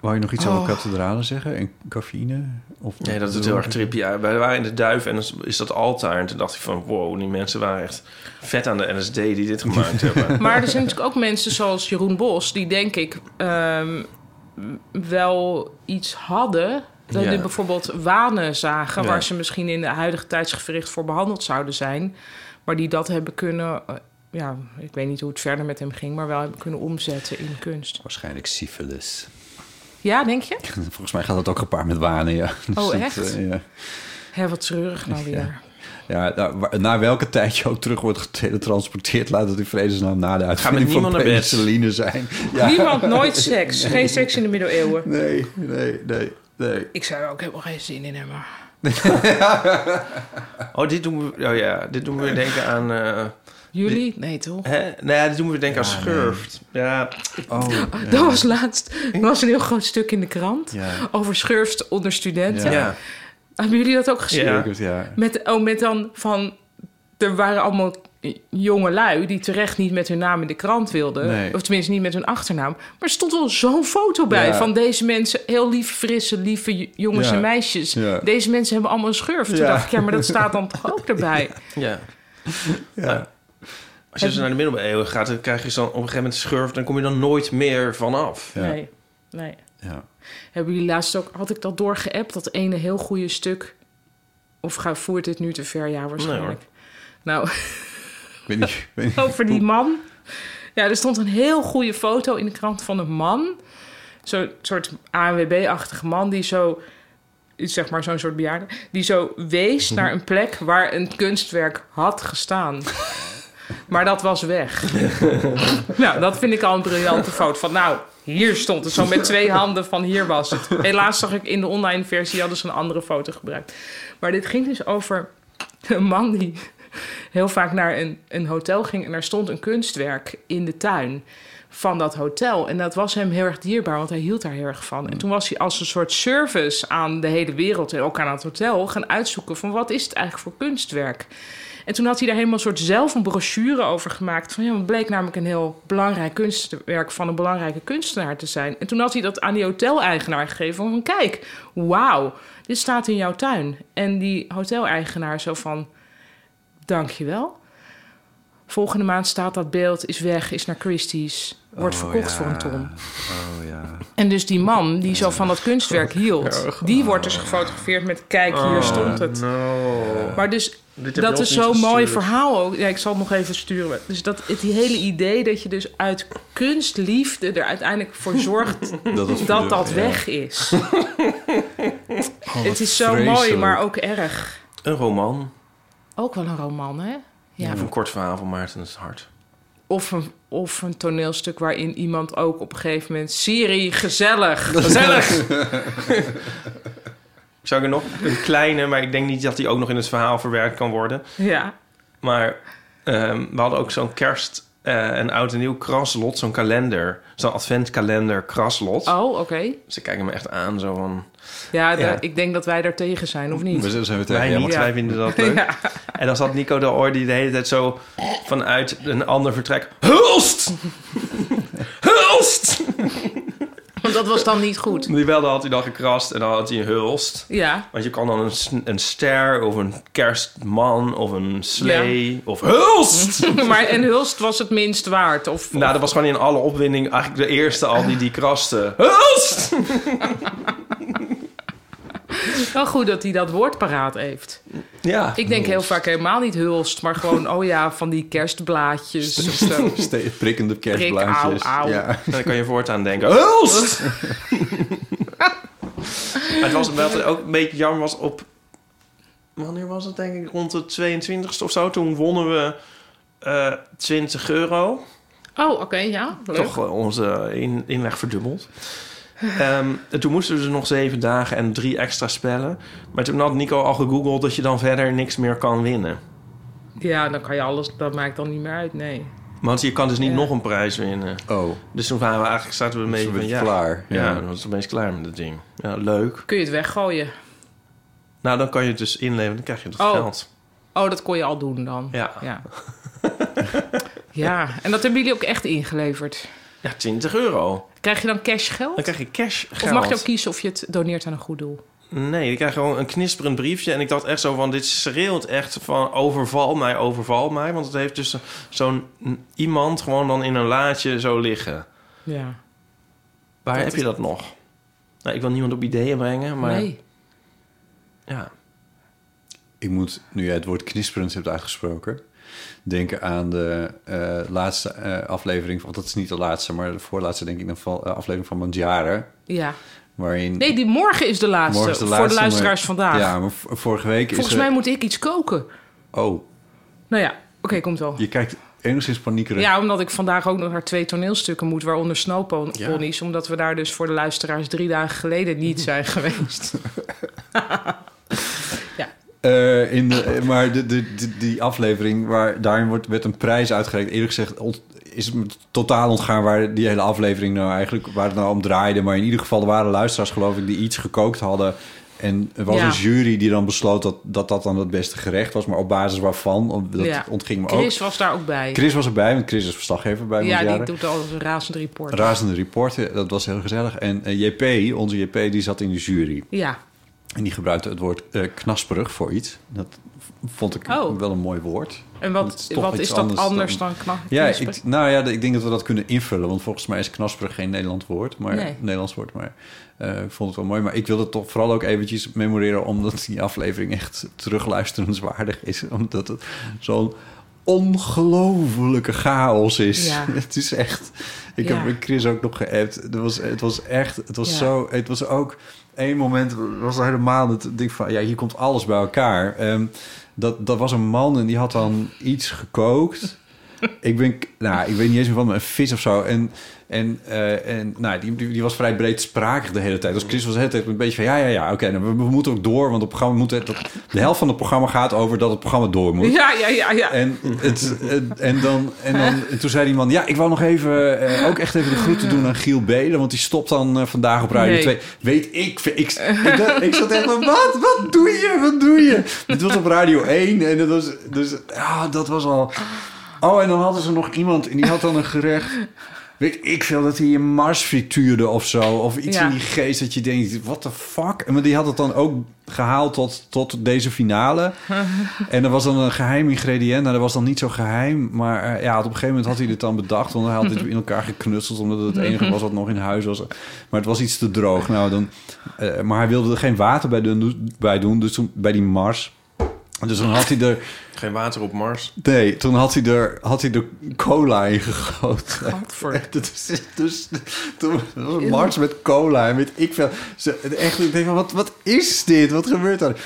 Wou je nog iets
Oh.
over kathedralen zeggen? En cafeïne? Of
Nee, dat is heel erg trippy. uit. Wij waren in de duif en dan is dat altaar. En toen dacht ik van, wow, die mensen waren echt vet aan de LSD die dit
[LAUGHS]
gemaakt hebben.
Maar er zijn natuurlijk ook mensen zoals Jeroen Bos, die denk ik ehm, wel iets hadden. Dat
Ja.
die bijvoorbeeld wanen zagen,
Ja.
waar ze misschien in de huidige tijdsgevricht voor behandeld zouden zijn. Maar die dat hebben kunnen, eh, ja, ik weet niet hoe het verder met hem ging, maar wel hebben kunnen omzetten in kunst.
Waarschijnlijk syfilis.
Ja, denk je?
[LAUGHS] Volgens mij gaat dat ook gepaard met wanen, ja. [LAUGHS] Dus
Oh,
dat,
echt?
eh, ja.
Hè, wat treurig nou weer.
Ja, nou, wa- naar welke tijd je ook terug wordt getransporteerd... laat het in vredesnaam na de
met
uitvinding van
niemand naar bed.
penicilline zijn. Ja,
Niemand, [LAUGHS] nooit seks. Geen seks in de middeleeuwen.
nee, nee, nee, nee.
Ik zou er ook helemaal geen zin in hebben.
Oh, dit doen we... Oh ja, dit doen we denken aan... eh,
Jullie? Nee, toch?
hè? Nou ja, dit doen we denken aan Schurft. Ja,
Oh,
Dat was laatst. Er was een heel groot stuk in de krant
Ja.
over schurft onder studenten.
ja.
Hebben jullie dat ook gezien?
Ja.
ja. ja.
Met, oh, met dan van. Er waren allemaal jonge lui die terecht niet met hun naam in de krant wilden.
Nee.
Of tenminste niet met hun achternaam. Maar er stond wel zo'n foto bij
Ja.
van deze mensen. Heel lieve, frisse, lieve j- jongens
Ja.
en meisjes.
Ja.
Deze mensen hebben allemaal een schurft. Toen
Ja.
dacht ik, ja, maar dat staat
[LAUGHS]
dan toch ook erbij.
ja. Maar Als je dus naar de middeleeuwen gaat, dan krijg je dan op een gegeven moment schurft... dan kom je dan nooit meer vanaf.
Ja.
Nee, nee.
ja.
Hebben jullie laatst ook, had ik dat doorgeappt, dat ene heel goede stuk? Of ga, voert dit nu te ver? Ja, waarschijnlijk. nou,
Ik weet niet, ik weet niet.
[LAUGHS] over die man. Ja, er stond een heel goede foto in de krant van een man. Zo'n soort ANWB-achtige man die zo, zeg maar zo'n soort bejaarde, die zo wees
Mhm.
naar een plek waar een kunstwerk had gestaan. Maar dat was
[LAUGHS]
weg. nou, dat vind ik al een briljante foto. Van nou, hier stond het. Zo met twee handen van hier was het. Helaas zag ik in de online versie hadden ze een andere foto gebruikt. Maar dit ging dus over een man die heel vaak naar een, een hotel ging en daar stond een kunstwerk in de tuin. van dat hotel. En dat was hem heel erg dierbaar, want hij hield daar heel erg van. En toen was hij als een soort service aan de hele wereld en ook aan het hotel gaan uitzoeken van wat is het eigenlijk voor kunstwerk. En toen had hij daar helemaal een soort zelf een brochure over gemaakt. Van ja, het bleek namelijk een heel belangrijk kunstwerk van een belangrijke kunstenaar te zijn. En toen had hij dat aan die hoteleigenaar gegeven. Van kijk, wauw, dit staat in jouw tuin. En die hoteleigenaar zo van, dankjewel. Volgende maand staat dat beeld, is weg, is naar Christie's. Wordt verkocht voor een ton.
Oh ja.
En dus die man die zo van dat
[LAUGHS]
kunstwerk hield, die wordt dus gefotografeerd met kijk,
Oh,
hier stond het.
nou.
No.
Maar dus
Dit heb
dat
je
is
ons niet
zo'n mooi
gestuurd.
verhaal ook. Ja, ik zal het nog even sturen. Dus dat het hele idee dat je dus uit kunstliefde er uiteindelijk voor zorgt
[LAUGHS] Dat
[LAUGHS]
het
dat dat
ja. [LAUGHS]
weg is.
Oh,
het
wat
is zo mooi,
vreselijk.
maar ook erg.
Een roman.
Ook wel een roman, hè? Ja.
Of een kort verhaal van Maarten het [LAUGHS] Hart.
Of een, of een toneelstuk waarin iemand ook op een gegeven moment... Siri, gezellig, gezellig!
[LAUGHS] Zou ik er nog een kleine, maar ik denk niet dat die ook nog in het verhaal verwerkt kan worden.
ja,
Maar ehm, we hadden ook zo'n kerst eh, en oud en nieuw kraslot, zo'n kalender. Zo'n adventkalender kraslot. Dus
oh, oké.
Ze kijken me echt aan zo van...
Ja, de-
Ja.
ik denk dat wij daar tegen zijn, of
We
niet?
zijn- zijn we tegen
Wij
ja,
niet,
want-
wij vinden [LAUGHS] dat leuk. En dan zat Nico de Oor die de hele tijd zo vanuit een ander vertrek... Hulst! [LAUGHS] Hulst!
Want dat was dan niet goed.
Die belde had hij dan gekrast en dan had hij een hulst.
Ja, [LAUGHS]
Want je kan dan een, s- een ster of een kerstman of een slee of hulst.
maar en Hulst was het minst waard. Of,
nou, dat was gewoon in alle opwinding eigenlijk de eerste al die die kraste. Hulst!
Wel goed dat hij dat woord paraat heeft.
Ja.
Ik denk heel vaak helemaal niet hulst, maar gewoon, oh ja, van die kerstblaadjes of
[LAUGHS]
zo.
[LAUGHS] Ste- prikkende
au,
kerstblaadjes.
au.
Ja.
En dan kan je voortaan denken,
[LAUGHS]
hulst! maar het was wel ook een beetje jammer was op... Wanneer was het denk ik? Rond de 22e of zo. Toen wonnen we eh 20 euro.
Oh, oké, ja. Leuk.
Toch eh, onze in, inleg verdubbeld. Ehm, en toen moesten we dus nog zeven dagen en drie extra spellen. Maar toen had Nico al gegoogeld dat je dan verder niks meer kan winnen.
Ja, dan kan je alles, dat maakt dan niet meer uit, nee.
Want je kan dus niet
Ja.
nog een prijs winnen.
Oh,
Dus toen waren we eigenlijk, zaten we een
dat is
beetje
een
van,
beetje
ja,
klaar.
Ja, dan was het opeens klaar met dat ding. Ja, leuk.
Kun je het weggooien?
Nou, dan kan je het dus inleveren, dan krijg je dat
Oh.
geld.
Oh, dat kon je al doen dan.
Ja. ja. [LAUGHS]
Ja. Ja, en dat hebben jullie ook echt ingeleverd.
20 euro.
Krijg je dan cash geld?
Dan krijg je cash geld.
Of mag je ook kiezen of je het doneert aan een goed doel?
Nee, ik krijg gewoon een knisperend briefje. En ik dacht echt zo van, dit schreeuwt echt van overval mij, overval mij. Want het heeft dus zo'n iemand gewoon dan in een laadje zo liggen.
Ja.
Waar
Dat
heb
is-
je dat nog? Nou, ik wil niemand op ideeën brengen, maar
Nee.
ja.
Ik moet, nu jij het woord knisperend hebt uitgesproken... denken aan de eh, laatste eh, aflevering... want dat is niet de laatste, maar de voorlaatste denk ik... dan van, eh, aflevering van Mandjaren,
Ja.
waarin...
Nee, die morgen is de laatste.
morgen is
voor de
laatste, maar-
luisteraars vandaag.
Ja, maar v- vorige week
Volgens
is er-
mij moet ik iets koken.
Oh,
Nou ja, oké, komt wel.
je kijkt enigszins paniekerig.
Ja, omdat ik vandaag ook nog naar twee toneelstukken moet, waaronder Snowponies. Omdat we daar dus voor de luisteraars drie dagen geleden
[LAUGHS]
niet zijn geweest.
Eh, in de, eh, maar de, de, de- die aflevering, waar, daarin wordt, werd een prijs uitgereikt. Eerlijk gezegd ont- is het me totaal ontgaan waar die hele aflevering nou eigenlijk... waar het nou om draaide. Maar in ieder geval er waren luisteraars, geloof ik, die iets gekookt hadden. En er was
Ja.
een jury die dan besloot dat, dat dat dan het beste gerecht was. Maar op basis waarvan, om- dat
Ja.
ontging me
Chris
ook.
was daar ook bij.
Chris was erbij, want Chris is verslaggever bij
ja, die
Mondjaren.
doet al een razend report.
Razende reporter, dat was heel gezellig. En eh, JP, onze JP, die zat in de jury.
ja,
En die gebruikte het woord eh, knasperig voor iets. Dat v- vond ik
Oh.
wel een mooi woord.
en
Dat
wat
is
is,
toch
wat
iets
is dat anders,
anders
dan,
dan-
knap?
Ja,
knisper?
ik, nou ja, ik denk dat we dat kunnen invullen. Want volgens mij is knasperig geen Nederland woord, maar,
Nee.
Nederlands woord. Maar eh, ik vond het wel mooi. Maar ik wilde het toch vooral ook eventjes memoreren... omdat die aflevering echt terugluisterenswaardig is. Omdat het zo'n ongelofelijke chaos is.
Ja.
[LAUGHS] Het is echt... Ik
Ja.
heb met Chris ook nog geappt. Het was, het was echt... Het was
Ja.
zo... Het was ook... Eén moment was er helemaal het ding van... Ja, hier komt alles bij elkaar. Ehm, dat, dat was een man en die had dan iets gekookt. ik ben, nou, ik weet niet eens meer van, maar een vis of zo. En, en, eh, en nou, die, die, die was vrij breedsprakig de hele tijd. Dus Chris was de hele tijd een beetje van, ja, ja, ja, oké, nou, we, we moeten ook door. Want het programma moet, het- dat- de helft van het programma gaat over dat het programma door moet.
[LAUGHS] Ja, ja, ja, ja.
En, het, het- en, dan, en, dan,
[LAUGHS]
en toen zei die man... Ja, ik wou nog even, eh, ook echt even de groeten doen aan Giel Belen... want die stopt dan eh, vandaag op Radio
Nee.
2. Weet ik, ik, ik, dacht- ik zat echt van... Wat? Wat doe je? Wat doe je? Dit was op Radio 1 en dat was... Dus, ah, dat was al... Oh, en dan hadden ze nog iemand en die had dan een gerecht... Weet ik veel dat hij een mars frituurde of zo. Of iets
Ja.
in die geest dat je denkt, what the fuck? En Maar die had het dan ook gehaald tot, tot deze finale. En er was dan een geheim ingrediënt. Nou, dat was dan niet zo geheim. Maar eh, ja, op een gegeven moment had hij dit dan bedacht. Want hij had dit in elkaar geknutseld. Omdat het het enige was wat nog in huis was. Maar het was iets te droog. Nou, dan, eh, maar hij wilde er geen water bij doen. Bij doen dus toen, bij die Mars. Dus dan had hij er...
Geen water op Mars.
Nee, toen had hij er, had hij er cola in gegoten. [LAUGHS]
Gadver.
Dus, dus toen was het Mars met cola en weet ik veel. Ze, echt, ik denk van, wat, wat is dit? Wat gebeurt er?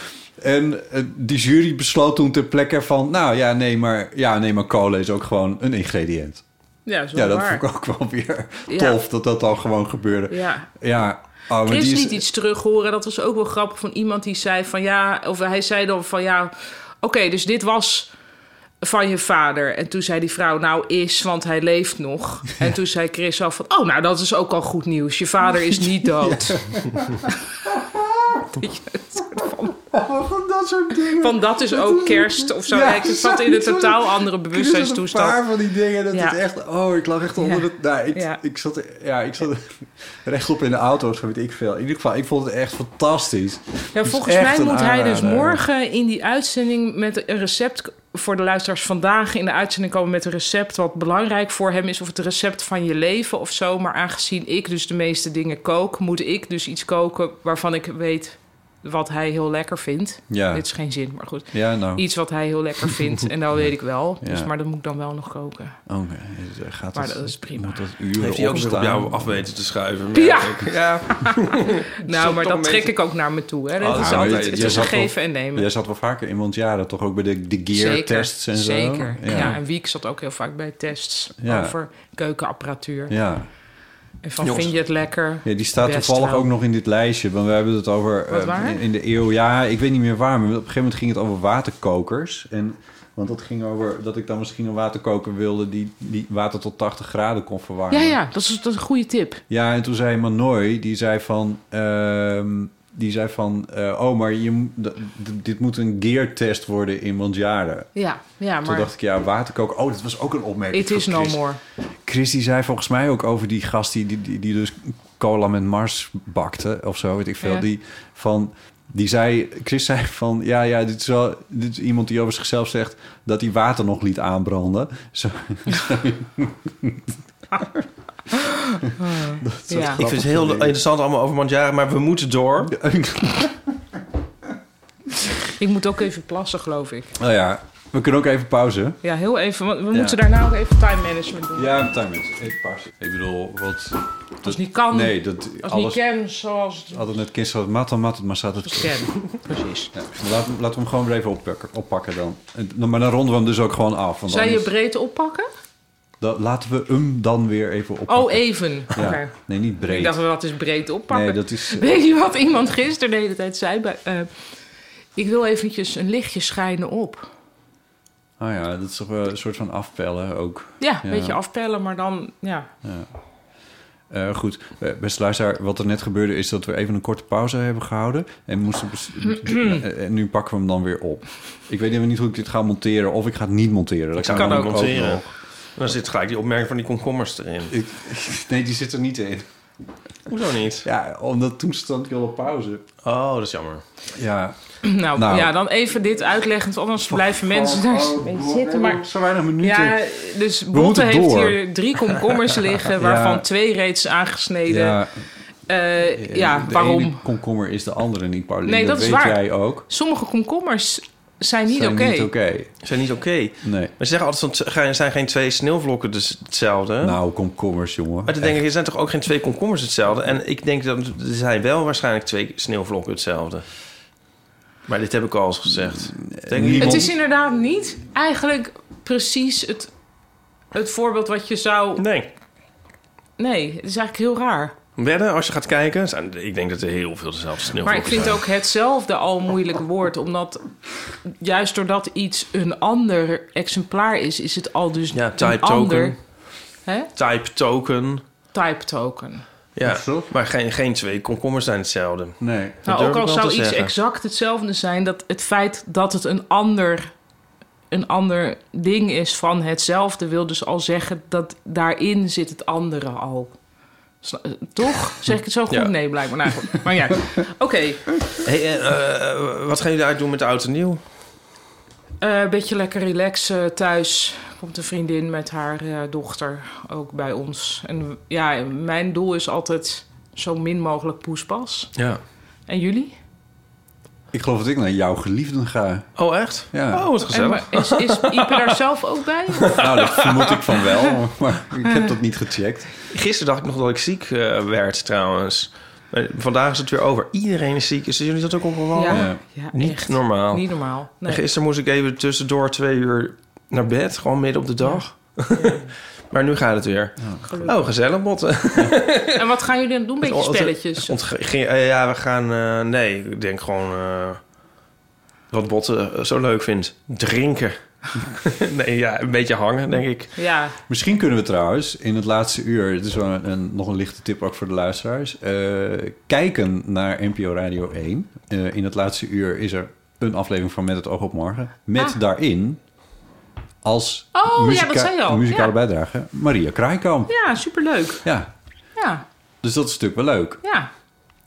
En eh, die jury besloot toen ter plekke van... nou ja nee, maar, ja, nee, maar cola is ook gewoon een ingrediënt.
Ja, dat is wel
Ja, dat
waar.
vond ik ook wel weer
Ja.
tof dat dat dan gewoon gebeurde.
Ja.
Ja, oh, maar
Chris
die is-
liet iets terug horen. Dat was ook wel grappig van iemand die zei van ja... Of hij zei dan van ja... Oké, dus dit was van je vader. En toen zei die vrouw nou is, want hij leeft
[LAUGHS]
nog. En toen zei Chris al van... Oh, nou dat is ook al goed nieuws. Je vader is
[LAUGHS]
niet dood. Dat je het soort van-
Oh, van dat soort dingen.
Van dat is ook kerst of zo.
Ja,
Kijk, het zat in een
zoiets was
totaal
het.
andere
Er zijn een paar
bewustzijnstoestand.
van die dingen dat
Ja.
het echt... Oh, ik lag echt onder
Ja.
het... Nou, ik,
Ja.
ik zat, ja, ik zat [LAUGHS] rechtop in de auto's, weet ik veel. In ieder geval, ik vond het echt fantastisch.
Ja,
is
volgens
echt
mij
een
moet hij dus
aanrader.
morgen in die uitzending met een recept voor de luisteraars vandaag in de uitzending komen met een recept wat belangrijk voor hem is of het recept van je leven of zo. Maar aangezien ik dus de meeste dingen kook, moet ik dus iets koken waarvan ik weet wat hij heel lekker vindt.
Ja.
Dit is geen zin, maar goed.
Ja, nou.
Iets wat hij heel lekker vindt en dat weet ik wel.
[LAUGHS] Ja.
Dus, maar dat moet ik dan wel nog koken.
Oh, nee, het gaat
Maar
het-
dat is prima.
Moet dat uren
Heeft hij ook weer op
opstaan?
jou af weten te schuiven? merk
Ja. [LAUGHS]
ik. ja.
Nou, maar dat
toch een
trek
beetje-
ik ook naar me toe. Hè.
Oh,
Dat
dat
is
is
altijd,
altijd-
het
nou, je
is een
zat wel-
geven en nemen.
Jij zat wel vaker in want jaren, toch ook bij de, de gear
Zeker,
tests en zo.
Zeker. Ja.
ja.
en Wiek zat ook heel vaak bij tests
Ja.
over keukenapparatuur.
Ja.
En van
Jongens.
vind je het lekker?
Ja, die staat
Best
toevallig
wel.
ook nog in dit lijstje. Want we hebben het over
Wat
eh,
waar?
in- in de eeuw. Ja, ik weet niet meer waar. Maar op een gegeven moment ging het over waterkokers. En, want dat ging over dat ik dan misschien een waterkoker wilde die, die water tot 80 graden kon verwarmen.
Ja, ja, dat is, dat is een goede tip.
Ja, en toen zei Manoy, die zei van... ehm, die zei van, eh, oh, maar je, moet- d- d- dit moet een geartest worden in Mondjaren.
Ja, ja maar
Toen dacht ik, ja, waterkoker. Oh, dat was ook een opmerking.
it is
van
no
Chris.
more.
Chris die zei volgens mij ook over die gast die, die, die, die dus cola met Mars bakte of zo, weet ik veel.
Ja.
Die van die zei, Chris zei van ja, ja, dit is wel dit is iemand die over zichzelf zegt dat hij water nog liet aanbranden. Zo, [LAUGHS]
Ja.
Ik vind het heel interessant allemaal over Mandjaren, maar we moeten door.
Ik moet ook even plassen, geloof ik.
nou ja, we kunnen ook even pauze.
Ja, heel even. Want we moeten daarna ook even time management doen.
Ja, time is even pauze. Ik bedoel, wat
Als niet kan,
Nee, dat
als
alles.
niet ken, zoals het
Altijd net kind zat mat dan mat, maar zat het
ken. Precies.
Ja, maar laten, we- laten we hem gewoon weer even oppakken, oppakken dan. En dan- Maar dan ronden we hem dus ook gewoon af. Want
Zou je
anders-
breedte oppakken?
Dat, laten we hem dan weer even op.
Oh, even. Oké.
Ja. Nee, niet
Ik
breed.
dacht, wat is [LAUGHS] breed oppakken?
Nee, dat is.
Weet je wat iemand gisteren de hele tijd zei? Bij, eh, ik wil eventjes een lichtje schijnen op.
Ah ja, dat is toch wel een soort van afpellen ook.
Ja,
Ja.
een beetje afpellen, maar dan... Ja,
Eh, goed, Eh, beste luisteraar, wat er net gebeurde is dat we even een korte pauze hebben gehouden. En moesten.
[CLEARS THROAT]
bes- eh, en nu pakken we hem dan weer op. Ik weet even niet hoe ik dit ga monteren of ik ga het niet monteren. Dat
Ik kan ook
namelijk
monteren.
nog.
Dan zit gelijk die opmerking van die komkommers erin.
Ik, [LAUGHS] nee, die zit er niet in.
Hoezo niet?
Ja, omdat toen stond ik al op pauze.
Oh, dat is jammer.
Ja,
[LAUGHS] nou,
Nou.
ja, dan even dit uitleggen, want anders blijven mensen daar mee zitten. Maar,
zo weinig minuten.
ja, dus Botte
moeten
heeft
door.
hier drie [LAUGHS] komkommers liggen, waarvan twee reeds aangesneden. Ja,
Ja,
ja
Eh, de
waarom?
ene komkommer is de andere niet, Pauline.
Nee, dat is
weet
waar.
jij ook.
Sommige komkommers zijn niet
Zijn
oké.
Niet oké.
Ze zijn niet oké.
Nee.
Maar ze zeggen altijd, van, er zijn geen twee sneeuwvlokken dus hetzelfde.
Nou, komkommers, jongen.
Maar dan denk ik, er zijn toch ook geen twee komkommers hetzelfde? En ik denk dat er zijn wel waarschijnlijk twee sneeuwvlokken hetzelfde. Maar dit heb ik al eens gezegd. Denk
Mm, niemand-
Het is inderdaad niet eigenlijk precies het het voorbeeld wat je zou...
Nee.
Nee, het is eigenlijk heel raar.
Wedden, als je gaat kijken, zijn- ik denk dat er heel veel dezelfde sneeuw
Maar ik vind ook hetzelfde al een moeilijk woord. Omdat juist doordat iets een ander exemplaar is... is het al dus
Ja,
een
type
ander
token.
hè?
Type token.
type token.
Ja,
Of zo?
maar geen, geen twee komkommers zijn hetzelfde.
Nee.
Nou,
durf
ook
ik
al
wel
zou
te
iets
zeggen.
exact hetzelfde zijn... dat het feit dat het een ander, een ander ding is van hetzelfde... wil dus al zeggen dat daarin zit het andere al. Sna- eh, Toch? Zeg ik het zo goed?
Ja.
Nee, blijkbaar. Nou, goed.
[LAUGHS]
maar ja, oké.
Hey, eh, eh, wat gaan jullie uitdoen met de oud en nieuw?
Eh, Een beetje lekker relaxen thuis. Komt een vriendin met haar eh, dochter ook bij ons. En ja, mijn doel is altijd zo min mogelijk poespas.
Ja.
En jullie?
Ik geloof dat ik naar jouw geliefden
[LAUGHS]
ga.
Oh, echt?
Ja.
Oh, wat
En,
gezellig.
maar is, is Ipe daar zelf ook bij?
Nou, dat vermoed ik van wel, maar ik heb dat niet gecheckt.
Gisteren dacht ik nog dat ik ziek eh, werd, trouwens. Maar vandaag is het weer over. Iedereen is ziek. Is jullie dat ook opgevallen?
ja, ja,
Niet
echt.
normaal.
Niet normaal.
En
Nee.
Gisteren moest ik even tussendoor twee uur naar bed. Gewoon midden op de dag. [LAUGHS] maar nu gaat het weer.
gelukkig.
Oh, gezellig, botten.
En wat gaan jullie dan doen?
[LAUGHS]
Beetje spelletjes.
Ontge- ging- eh, ja, we gaan... eh, nee, ik denk gewoon... eh, wat botten eh, zo leuk vindt. Drinken. [LAUGHS] nee, ja, een beetje hangen, denk ik.
Ja,
Misschien kunnen we trouwens in het laatste uur, het is wel een, een- nog een lichte tip ook voor de luisteraars, eh, kijken naar NPO Radio 1. Eh, in het laatste uur is er een aflevering van Met het Oog op Morgen. Met
Ah.
daarin als
Oh, ja, dat zei je al.
muzikale
Ja.
bijdrage Maria Kraaikamp. Ja.
ja superleuk. Ja,
dus dat is natuurlijk wel leuk.
ja.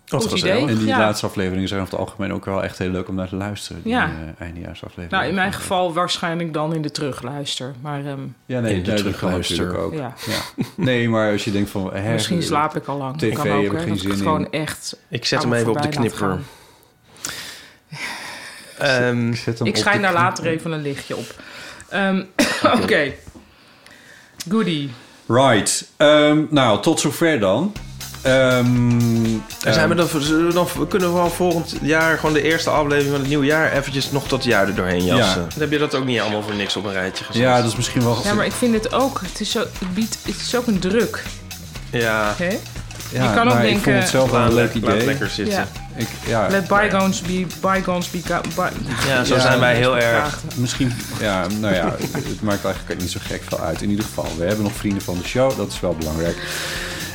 Wat
Goed
gezellig.
idee.
En die
Ja.
laatste afleveringen zijn over het algemeen ook wel echt heel leuk om naar te luisteren. Die
Ja.
eh, eindejaarsafleveringen.
Nou, in mijn geval waarschijnlijk dan in de terugluister. Maar ehm,
Ja, nee,
In de
nee, dat kan
terugluister.
natuurlijk ook.
ja,
Nee, maar als je denkt van... hè,
misschien slaap ik al lang.
TV
kan ook,
heb ik
hè,
geen
dat ik
zin
het gewoon
in.
echt
Ik zet hem
allemaal
even op de
voorbij laat
knipper.
[LAUGHS]
gaan.
Ehm,
zet hem
Ik
op
schijn
de
daar
knop.
later even een lichtje op.
[LAUGHS]
Ehm, [LAUGHS] Oké. Goodie.
Right. Ehm, nou, tot zover dan. Ehm,
En zijn
ehm,
we dan, zullen we dan- kunnen we al volgend jaar gewoon de eerste aflevering van het nieuwe jaar eventjes nog dat jaar er doorheen jassen?
Ja.
Dan heb je dat ook niet allemaal voor niks op een rijtje gezet.
Ja, dat is misschien wel...
Ja, maar ik vind het ook... Het is, zo, het biedt, het is ook een druk.
Ja,
Hè?
Ja,
je kan ook
maar ik
denken-
vond het zelf wel
laat,
een leuk
leuk laat
idee.
lekker zitten.
Ja.
Ja,
Ik, Ah, ja,
Let bygones be bygones be... go- by-
zo zijn wij heel erg.
misschien... Ja, nou ja, het maakt eigenlijk niet zo gek veel uit. In ieder geval, we hebben nog vrienden van de show. Dat is wel belangrijk.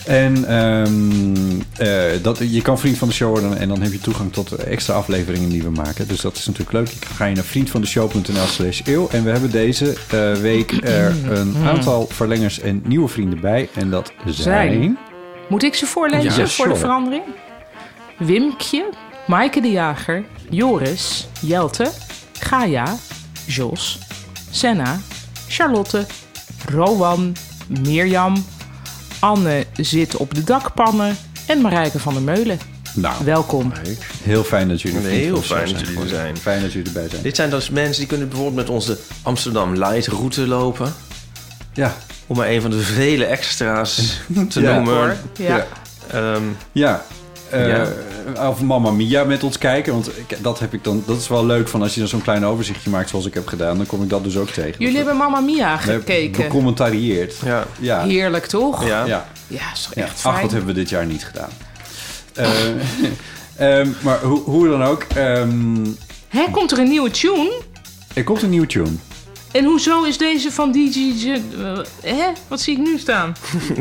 En ehm, eh, dat, je kan vriend van de show worden en dan heb je toegang tot extra afleveringen die we maken. Dus dat is natuurlijk leuk. Je ga je naar vriendvandeshow.nl slash eeuw. En we hebben deze eh, week er een
Mm.
aantal verlengers en nieuwe vrienden bij. En dat zijn...
Zijn. Moet ik ze voorlezen
Ja,
voor de
sure.
verandering? Wimkje, Maaike de Jager, Joris, Jelte, Gaia, Jos, Senna, Charlotte, Rowan, Mirjam, Anne zit op de dakpannen en Marijke van der Meulen.
Nou,
Welkom.
Heel fijn dat jullie
Heel
vriend van de show
fijn dat jullie er zijn.
Fijn dat jullie erbij zijn.
Dit zijn dus mensen die kunnen bijvoorbeeld met onze Amsterdam Light route lopen.
Ja,
Om maar een van de vele
[LAUGHS]
extra's te
Ja,
noemen.
hoor.
Ja.
Ehm,
ja. Eh,
Ja.
Of Mamma Mia met ons kijken. Want ik- dat, heb ik dan, dat is wel leuk van als je dan zo'n klein overzichtje maakt zoals ik heb gedaan. Dan kom ik dat dus ook tegen.
Jullie hebben Mamma Mia gekeken.
Gecommentarieerd.
ja.
Ja.
Heerlijk toch?
Ja.
ja.
Ja, is toch
Ja,
echt
Ach,
fijn.
wat hebben we dit jaar niet gedaan. Eh, [LAUGHS] ehm, maar hoe, hoe dan ook. ehm,
Hè, komt er een nieuwe tune?
er komt een nieuwe tune.
En hoezo is deze van DJ... Gen- eh, Hè? Wat zie ik nu staan?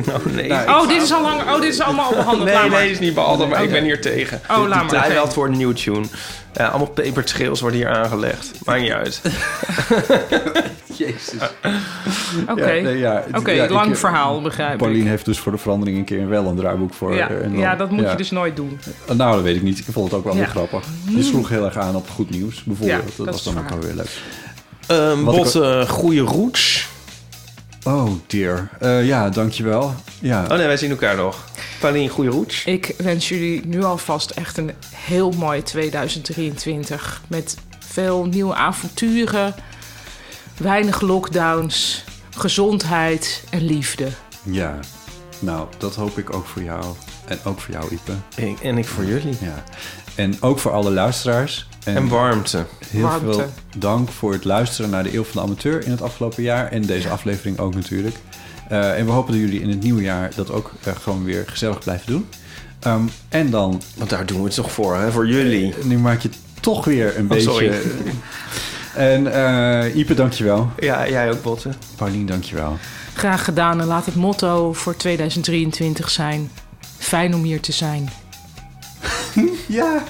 Oh nee.
Oh, dit is al lang. Oh, dit is allemaal al behandeld.
Nee,
Laat maar.
nee, is niet behandeld, maar ik ben hier tegen.
Oh, laat maar.
Hij
Oké.
geldt voor een nieuwe tune. Eh, allemaal pepertrails worden hier aangelegd. Maakt niet uit.
[LAUGHS] Jezus.
Oké,
Ja, nee, ja, het-
Oké,
ja, ik- eh,
lang verhaal, begrijp
Pauline
ik.
heeft dus voor de verandering een keer wel een draaiboek voor.
Ja,
eh, en dan-
ja, dat moet
ja.
je dus nooit doen.
Nou, dat weet ik niet. Ik vond het ook wel
Ja.
weer grappig. Je sloeg heel erg aan op goed nieuws, bijvoorbeeld.
Ja,
dat,
dat
was
is
dan ook
waar.
wel weer leuk.
[LAUGHS] Ehm
Wat
bot,
ik-
eh, goede roots.
Oh dear. Eh, ja, dankjewel. Ja.
Oh nee, wij zien elkaar nog. Pauline, goede roots.
Ik wens jullie nu alvast echt een heel mooi 2023. Met veel nieuwe avonturen, weinig lockdowns, gezondheid en liefde.
ja. Nou, dat hoop ik ook voor jou. En ook voor jou, Ipe.
Ik- en ik voor jullie.
Ja. En ook voor alle luisteraars. En
En warmte.
heel
warmte.
veel dank voor het luisteren naar de Eeuw van de Amateur in het afgelopen jaar. En deze aflevering ook natuurlijk. Eh, en we hopen dat jullie in het nieuwe jaar dat ook eh, gewoon weer gezellig blijven doen. Ehm, en dan,
Want daar doen we het toch voor, hè? Voor jullie.
Eh,
Oh,
nu maak je het toch weer een beetje...
sorry.
En eh Ipe, dankjewel.
Ja, jij ook, Botten.
Paulien, dankjewel.
Graag gedaan en laat het motto voor 2023 zijn. Fijn om hier te zijn.
Ja.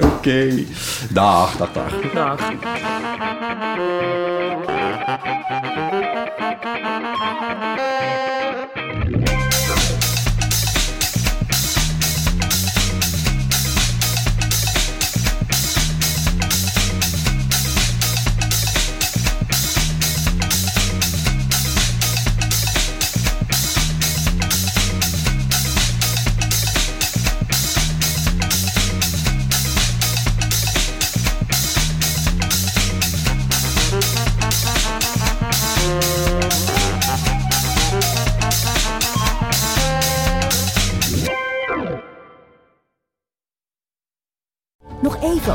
Oké. Dag, dag, dag.
Dag.
Nog even